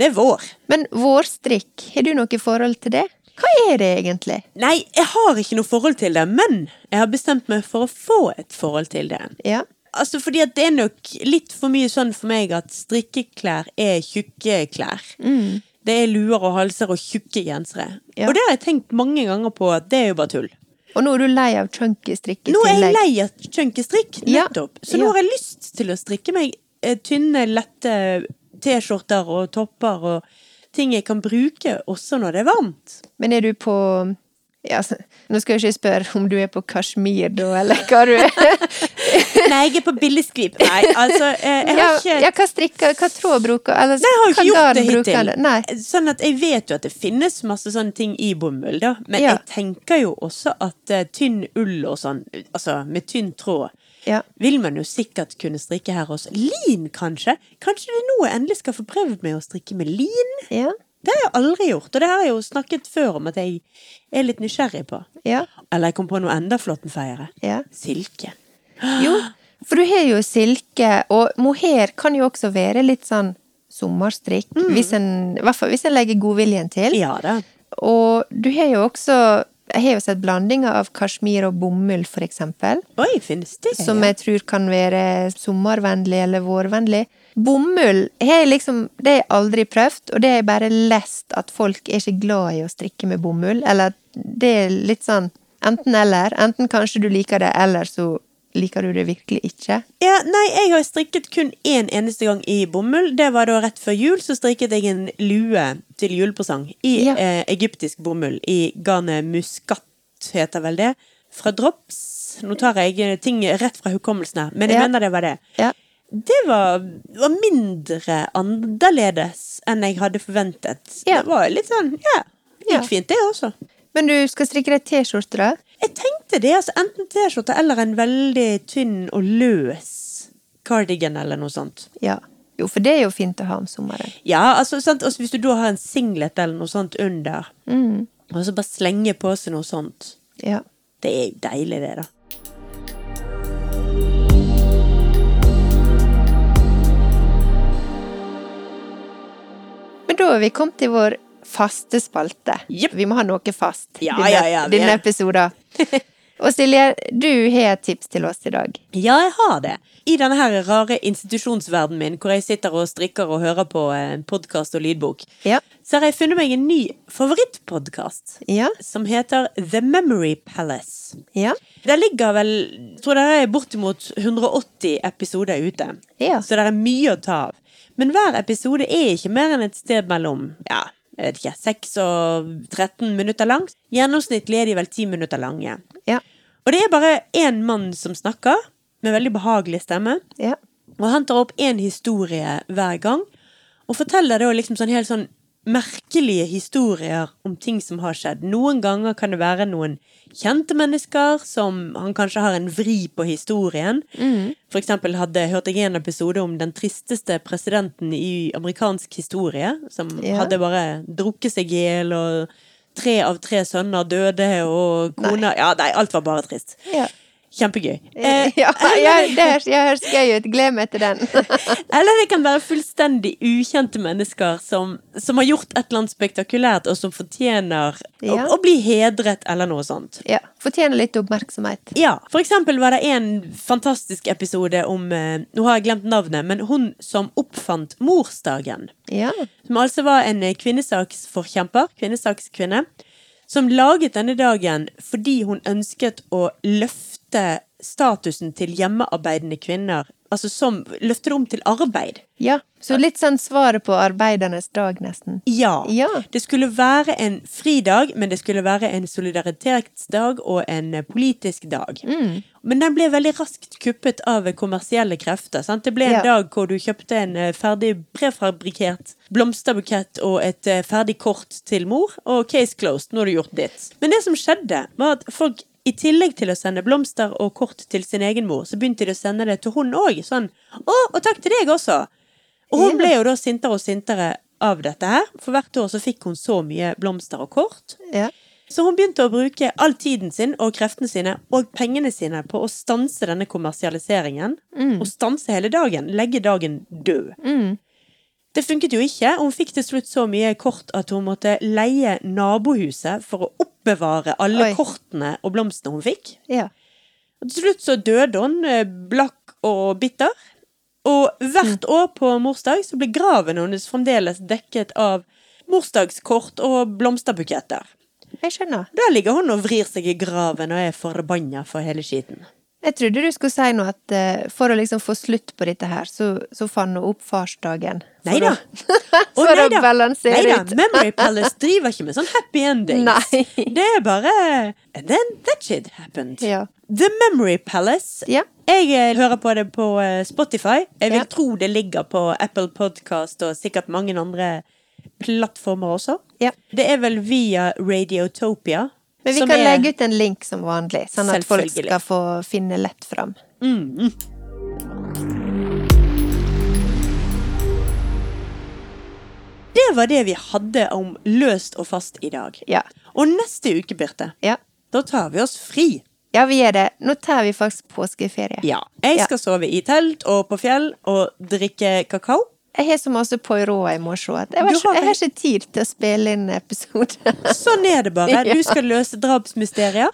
[SPEAKER 1] Det er vår.
[SPEAKER 2] Men vårstrikk, har du noe forhold til det? Hva er det egentlig?
[SPEAKER 1] Nei, jeg har ikke noe forhold til det, men jeg har bestemt meg for å få et forhold til det.
[SPEAKER 2] Ja,
[SPEAKER 1] Altså, fordi at det er nok litt for mye sånn for meg at strikkeklær er tjukke klær. Det er luer og halser og tjukke gensere.
[SPEAKER 2] Mm. Ja.
[SPEAKER 1] Og det har jeg tenkt mange ganger på at det er jo bare tull.
[SPEAKER 2] og nå er du lei av chunky strikk i
[SPEAKER 1] Nå er jeg
[SPEAKER 2] tillegg.
[SPEAKER 1] lei av chunky strikk,
[SPEAKER 2] Ja.
[SPEAKER 1] nettopp. Så nå
[SPEAKER 2] Ja.
[SPEAKER 1] har jeg lyst til å strikke meg eh, tynne, lette eh, T-skjorter og topper og ting jeg kan bruke også når det er varmt.
[SPEAKER 2] [LAUGHS] Men er du på ja, så, Nå skal jeg ikke spørre om du er på Kashmir da, eller hva du er.
[SPEAKER 1] Nei, jeg er på billigskvip. Nei, altså, eh, [LAUGHS] jeg
[SPEAKER 2] ja,
[SPEAKER 1] har ikke
[SPEAKER 2] ja, hva strikker, hva tråd bruker eller
[SPEAKER 1] Nei, jeg har jo ikke
[SPEAKER 2] hva
[SPEAKER 1] gjort det
[SPEAKER 2] garn bruker
[SPEAKER 1] hittil.
[SPEAKER 2] du? Nei.
[SPEAKER 1] Sånn at jeg vet jo at det finnes masse sånne ting i bomull, da. Men
[SPEAKER 2] Ja.
[SPEAKER 1] jeg tenker jo også at eh, tynn ull og sånn, altså med tynn tråd,
[SPEAKER 2] Ja.
[SPEAKER 1] vil man jo sikkert kunne strikke her også. Lin, kanskje? Kanskje det er nå jeg endelig skal få prøvd med å strikke med lin?
[SPEAKER 2] Ja.
[SPEAKER 1] Det har jeg aldri gjort, og det har jeg jo snakket før om at jeg er litt nysgjerrig på.
[SPEAKER 2] ja.
[SPEAKER 1] Eller jeg kom på noe enda flottenfeiere.
[SPEAKER 2] Ja.
[SPEAKER 1] Silke. [GASPS]
[SPEAKER 2] Jo, for du har jo silke, og mohair kan jo også være litt sånn sommerstrikk, hvis en, i hvert fall hvis en legger godviljen til.
[SPEAKER 1] Mm. Ja da.
[SPEAKER 2] Og du har jo også jeg har jo sett blandinger av kasjmir og bomull, for eksempel,
[SPEAKER 1] Oi, finnes det?
[SPEAKER 2] som jeg tror kan være sommervennlig eller vårvennlig. Bomull har jeg liksom, det har jeg aldri prøvd, og det har jeg bare lest at folk er ikke glad i å strikke med bomull. Eller at det er litt sånn enten-eller. Enten kanskje du liker det, eller så liker du det virkelig ikke.
[SPEAKER 1] Ja, nei, jeg har strikket kun én eneste gang i bomull. Det var da rett før jul, så strikket jeg en lue til julepresang i
[SPEAKER 2] Ja.
[SPEAKER 1] eh, egyptisk bomull. I garnet muskat, heter vel det. Fra drops. Nå tar jeg eh, ting rett fra hukommelsen her, men jeg
[SPEAKER 2] Ja.
[SPEAKER 1] mener det var det.
[SPEAKER 2] Ja.
[SPEAKER 1] Det var, var mindre annerledes enn jeg hadde forventet.
[SPEAKER 2] Ja.
[SPEAKER 1] Det var litt sånn, ja. Gikk
[SPEAKER 2] Ja.
[SPEAKER 1] fint, det også.
[SPEAKER 2] Men du skal strikke deg T-skjorte, da?
[SPEAKER 1] Jeg tenkte det, altså enten T-skjorte eller en veldig tynn og løs cardigan eller noe sånt.
[SPEAKER 2] Ja. Jo, for det er jo fint å ha om sommeren.
[SPEAKER 1] Ja, altså, sant? altså hvis du da har en singlet eller noe sånt under, og så bare slenger på seg noe sånt,
[SPEAKER 2] Ja.
[SPEAKER 1] det er jo deilig det da.
[SPEAKER 2] Men da er vi kommet til vår faste spalte.
[SPEAKER 1] Jepp.
[SPEAKER 2] Vi må ha noe fast
[SPEAKER 1] Ja,
[SPEAKER 2] denne,
[SPEAKER 1] ja, ja, vi
[SPEAKER 2] denne
[SPEAKER 1] er- [LAUGHS]
[SPEAKER 2] episoden. Og Silje, du har et tips til oss i dag.
[SPEAKER 1] Ja, jeg har det. I denne her rare institusjonsverdenen min, hvor jeg sitter og strikker og hører på eh, podcast og lydbok,
[SPEAKER 2] Ja.
[SPEAKER 1] så har jeg funnet meg en ny favorittpodcast,
[SPEAKER 2] Ja.
[SPEAKER 1] som heter The Memory Palace.
[SPEAKER 2] Ja.
[SPEAKER 1] Der ligger vel, tror dere er bortimot 180 episoder ute.
[SPEAKER 2] Ja.
[SPEAKER 1] Så det er mye å ta av. Men hver episode er ikke mer enn et sted mellom, ja, jeg vet ikke, 6 og 13 minutter lang. Gjennomsnittlig er de vel 10 minutter lange.
[SPEAKER 2] Ja.
[SPEAKER 1] Og det er bare én mann som snakker, med veldig behagelig stemme.
[SPEAKER 2] Ja.
[SPEAKER 1] Og han tar opp én historie hver gang, og forteller da liksom sånn helt sånn merkelige historier om ting som har skjedd. Noen ganger kan det være noen kjente mennesker som han kanskje har en vri på historien.
[SPEAKER 2] Mm.
[SPEAKER 1] For eksempel hadde, hørte jeg en episode om den tristeste presidenten i amerikansk historie, som
[SPEAKER 2] Ja.
[SPEAKER 1] hadde bare drukket seg i hjel, og tre av tre sønner døde, og kona Ja, nei, alt var bare trist.
[SPEAKER 2] Ja.
[SPEAKER 1] Kjempegøy.
[SPEAKER 2] [LAUGHS] Ja,
[SPEAKER 1] Eh,
[SPEAKER 2] jeg, det høres jeg høres gøy ut. Gleder meg
[SPEAKER 1] [LAUGHS]
[SPEAKER 2] til den.
[SPEAKER 1] eller det kan være fullstendig ukjente mennesker som, som har gjort et eller annet spektakulært, og som fortjener
[SPEAKER 2] Ja.
[SPEAKER 1] å, å bli hedret eller noe sånt.
[SPEAKER 2] Ja. Fortjener litt oppmerksomhet.
[SPEAKER 1] Ja, For eksempel var det en fantastisk episode om eh, Nå har jeg glemt navnet, men hun som oppfant morsdagen.
[SPEAKER 2] Ja.
[SPEAKER 1] Som altså var en eh, kvinnesaksforkjemper, kvinnesakskvinne, som laget denne dagen fordi hun ønsket å løfte statusen til hjemmearbeidende kvinner. Altså som løfter det om til arbeid.
[SPEAKER 2] Ja. Så litt sånn svaret på arbeidernes dag, nesten.
[SPEAKER 1] Ja.
[SPEAKER 2] Ja.
[SPEAKER 1] Det skulle være en fridag, men det skulle være en solidaritetsdag og en eh, politisk dag.
[SPEAKER 2] Mm.
[SPEAKER 1] Men den ble veldig raskt kuppet av kommersielle krefter. Sant? Det ble en
[SPEAKER 2] Ja.
[SPEAKER 1] dag hvor du kjøpte en eh, ferdig prefabrikert blomsterbukett og et eh, ferdig kort til mor, og case closed, nå har du gjort ditt. Men det som skjedde, var at folk i tillegg til å sende blomster og kort til sin egen mor, så begynte de å sende det til hun òg. Sånn 'Å, og takk til deg også'. Og hun
[SPEAKER 2] Ja.
[SPEAKER 1] ble jo da sintere og sintere av dette her. For hvert år så fikk hun så mye blomster og kort.
[SPEAKER 2] Ja.
[SPEAKER 1] Så hun begynte å bruke all tiden sin og kreftene sine og pengene sine på å stanse denne kommersialiseringen.
[SPEAKER 2] Mm.
[SPEAKER 1] Og stanse hele dagen. Legge dagen død. Det funket jo ikke. og Hun fikk til slutt så mye kort at hun måtte leie nabohuset for å oppbevare alle
[SPEAKER 2] Oi.
[SPEAKER 1] kortene og blomstene hun fikk.
[SPEAKER 2] ja.
[SPEAKER 1] Og til slutt så døde hun, eh, blakk og bitter. Og hvert
[SPEAKER 2] Mm.
[SPEAKER 1] år på morsdag så ble graven hennes fremdeles dekket av morsdagskort og blomsterbuketter.
[SPEAKER 2] Jeg skjønner.
[SPEAKER 1] Der ligger hun og vrir seg i graven og er forbanna for hele
[SPEAKER 2] [LAUGHS]
[SPEAKER 1] skiten.
[SPEAKER 2] Jeg trodde du skulle si noe at eh, for å liksom få slutt på dette her, så, så fant hun opp farsdagen. For
[SPEAKER 1] Nei da.
[SPEAKER 2] å- [LAUGHS] For å balansere
[SPEAKER 1] Neida,
[SPEAKER 2] ut. [LAUGHS]
[SPEAKER 1] Memory Palace driver ikke med sånn happy endings.
[SPEAKER 2] Nei.
[SPEAKER 1] Det er bare And then that shit happened.
[SPEAKER 2] Ja.
[SPEAKER 1] The Memory Palace.
[SPEAKER 2] Ja.
[SPEAKER 1] Jeg eh, hører på det på eh, Spotify. Jeg vil
[SPEAKER 2] Ja.
[SPEAKER 1] tro det ligger på Apple Podcast og sikkert mange andre plattformer også.
[SPEAKER 2] Ja.
[SPEAKER 1] Det er vel via Radiotopia.
[SPEAKER 2] Men vi
[SPEAKER 1] som
[SPEAKER 2] kan
[SPEAKER 1] er-
[SPEAKER 2] legge ut en link som vanlig, sånn at folk
[SPEAKER 1] Selvfølgelig.
[SPEAKER 2] skal få finne lett fram.
[SPEAKER 1] Det var det vi hadde om løst og fast i dag.
[SPEAKER 2] Ja.
[SPEAKER 1] Og neste uke, Birte,
[SPEAKER 2] Ja.
[SPEAKER 1] da tar vi oss fri.
[SPEAKER 2] ja, vi gjør det. Nå tar vi faktisk påskeferie.
[SPEAKER 1] Ja. Jeg
[SPEAKER 2] Ja.
[SPEAKER 1] skal sove i telt og på fjell og drikke kakao.
[SPEAKER 2] Jeg har så masse Poirot jeg må se. at Jeg,
[SPEAKER 1] Du
[SPEAKER 2] var, så-
[SPEAKER 1] har
[SPEAKER 2] jeg har
[SPEAKER 1] vel-
[SPEAKER 2] ikke tid til å spille inn episode. [LAUGHS]
[SPEAKER 1] Sånn er det bare.
[SPEAKER 2] Ja.
[SPEAKER 1] Du skal løse drapsmysterier.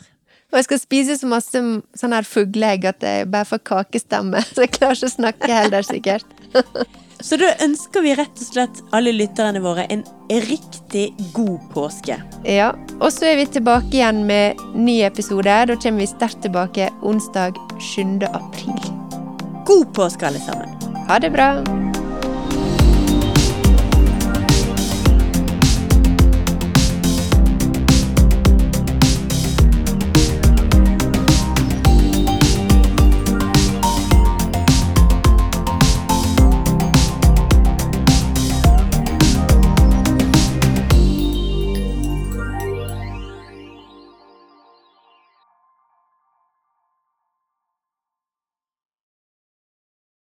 [SPEAKER 2] Og jeg skal spise så masse m- sånn her fugleegg at jeg bare får kakestemme. [LAUGHS] Så jeg klarer ikke å snakke heller, sikkert.
[SPEAKER 1] Så da ønsker vi rett og slett alle lytterne våre en riktig god påske.
[SPEAKER 2] Ja. Og så er vi tilbake igjen med ny episode. Da kommer vi sterkt tilbake onsdag 7. april.
[SPEAKER 1] God påske, alle sammen.
[SPEAKER 2] Ha det bra!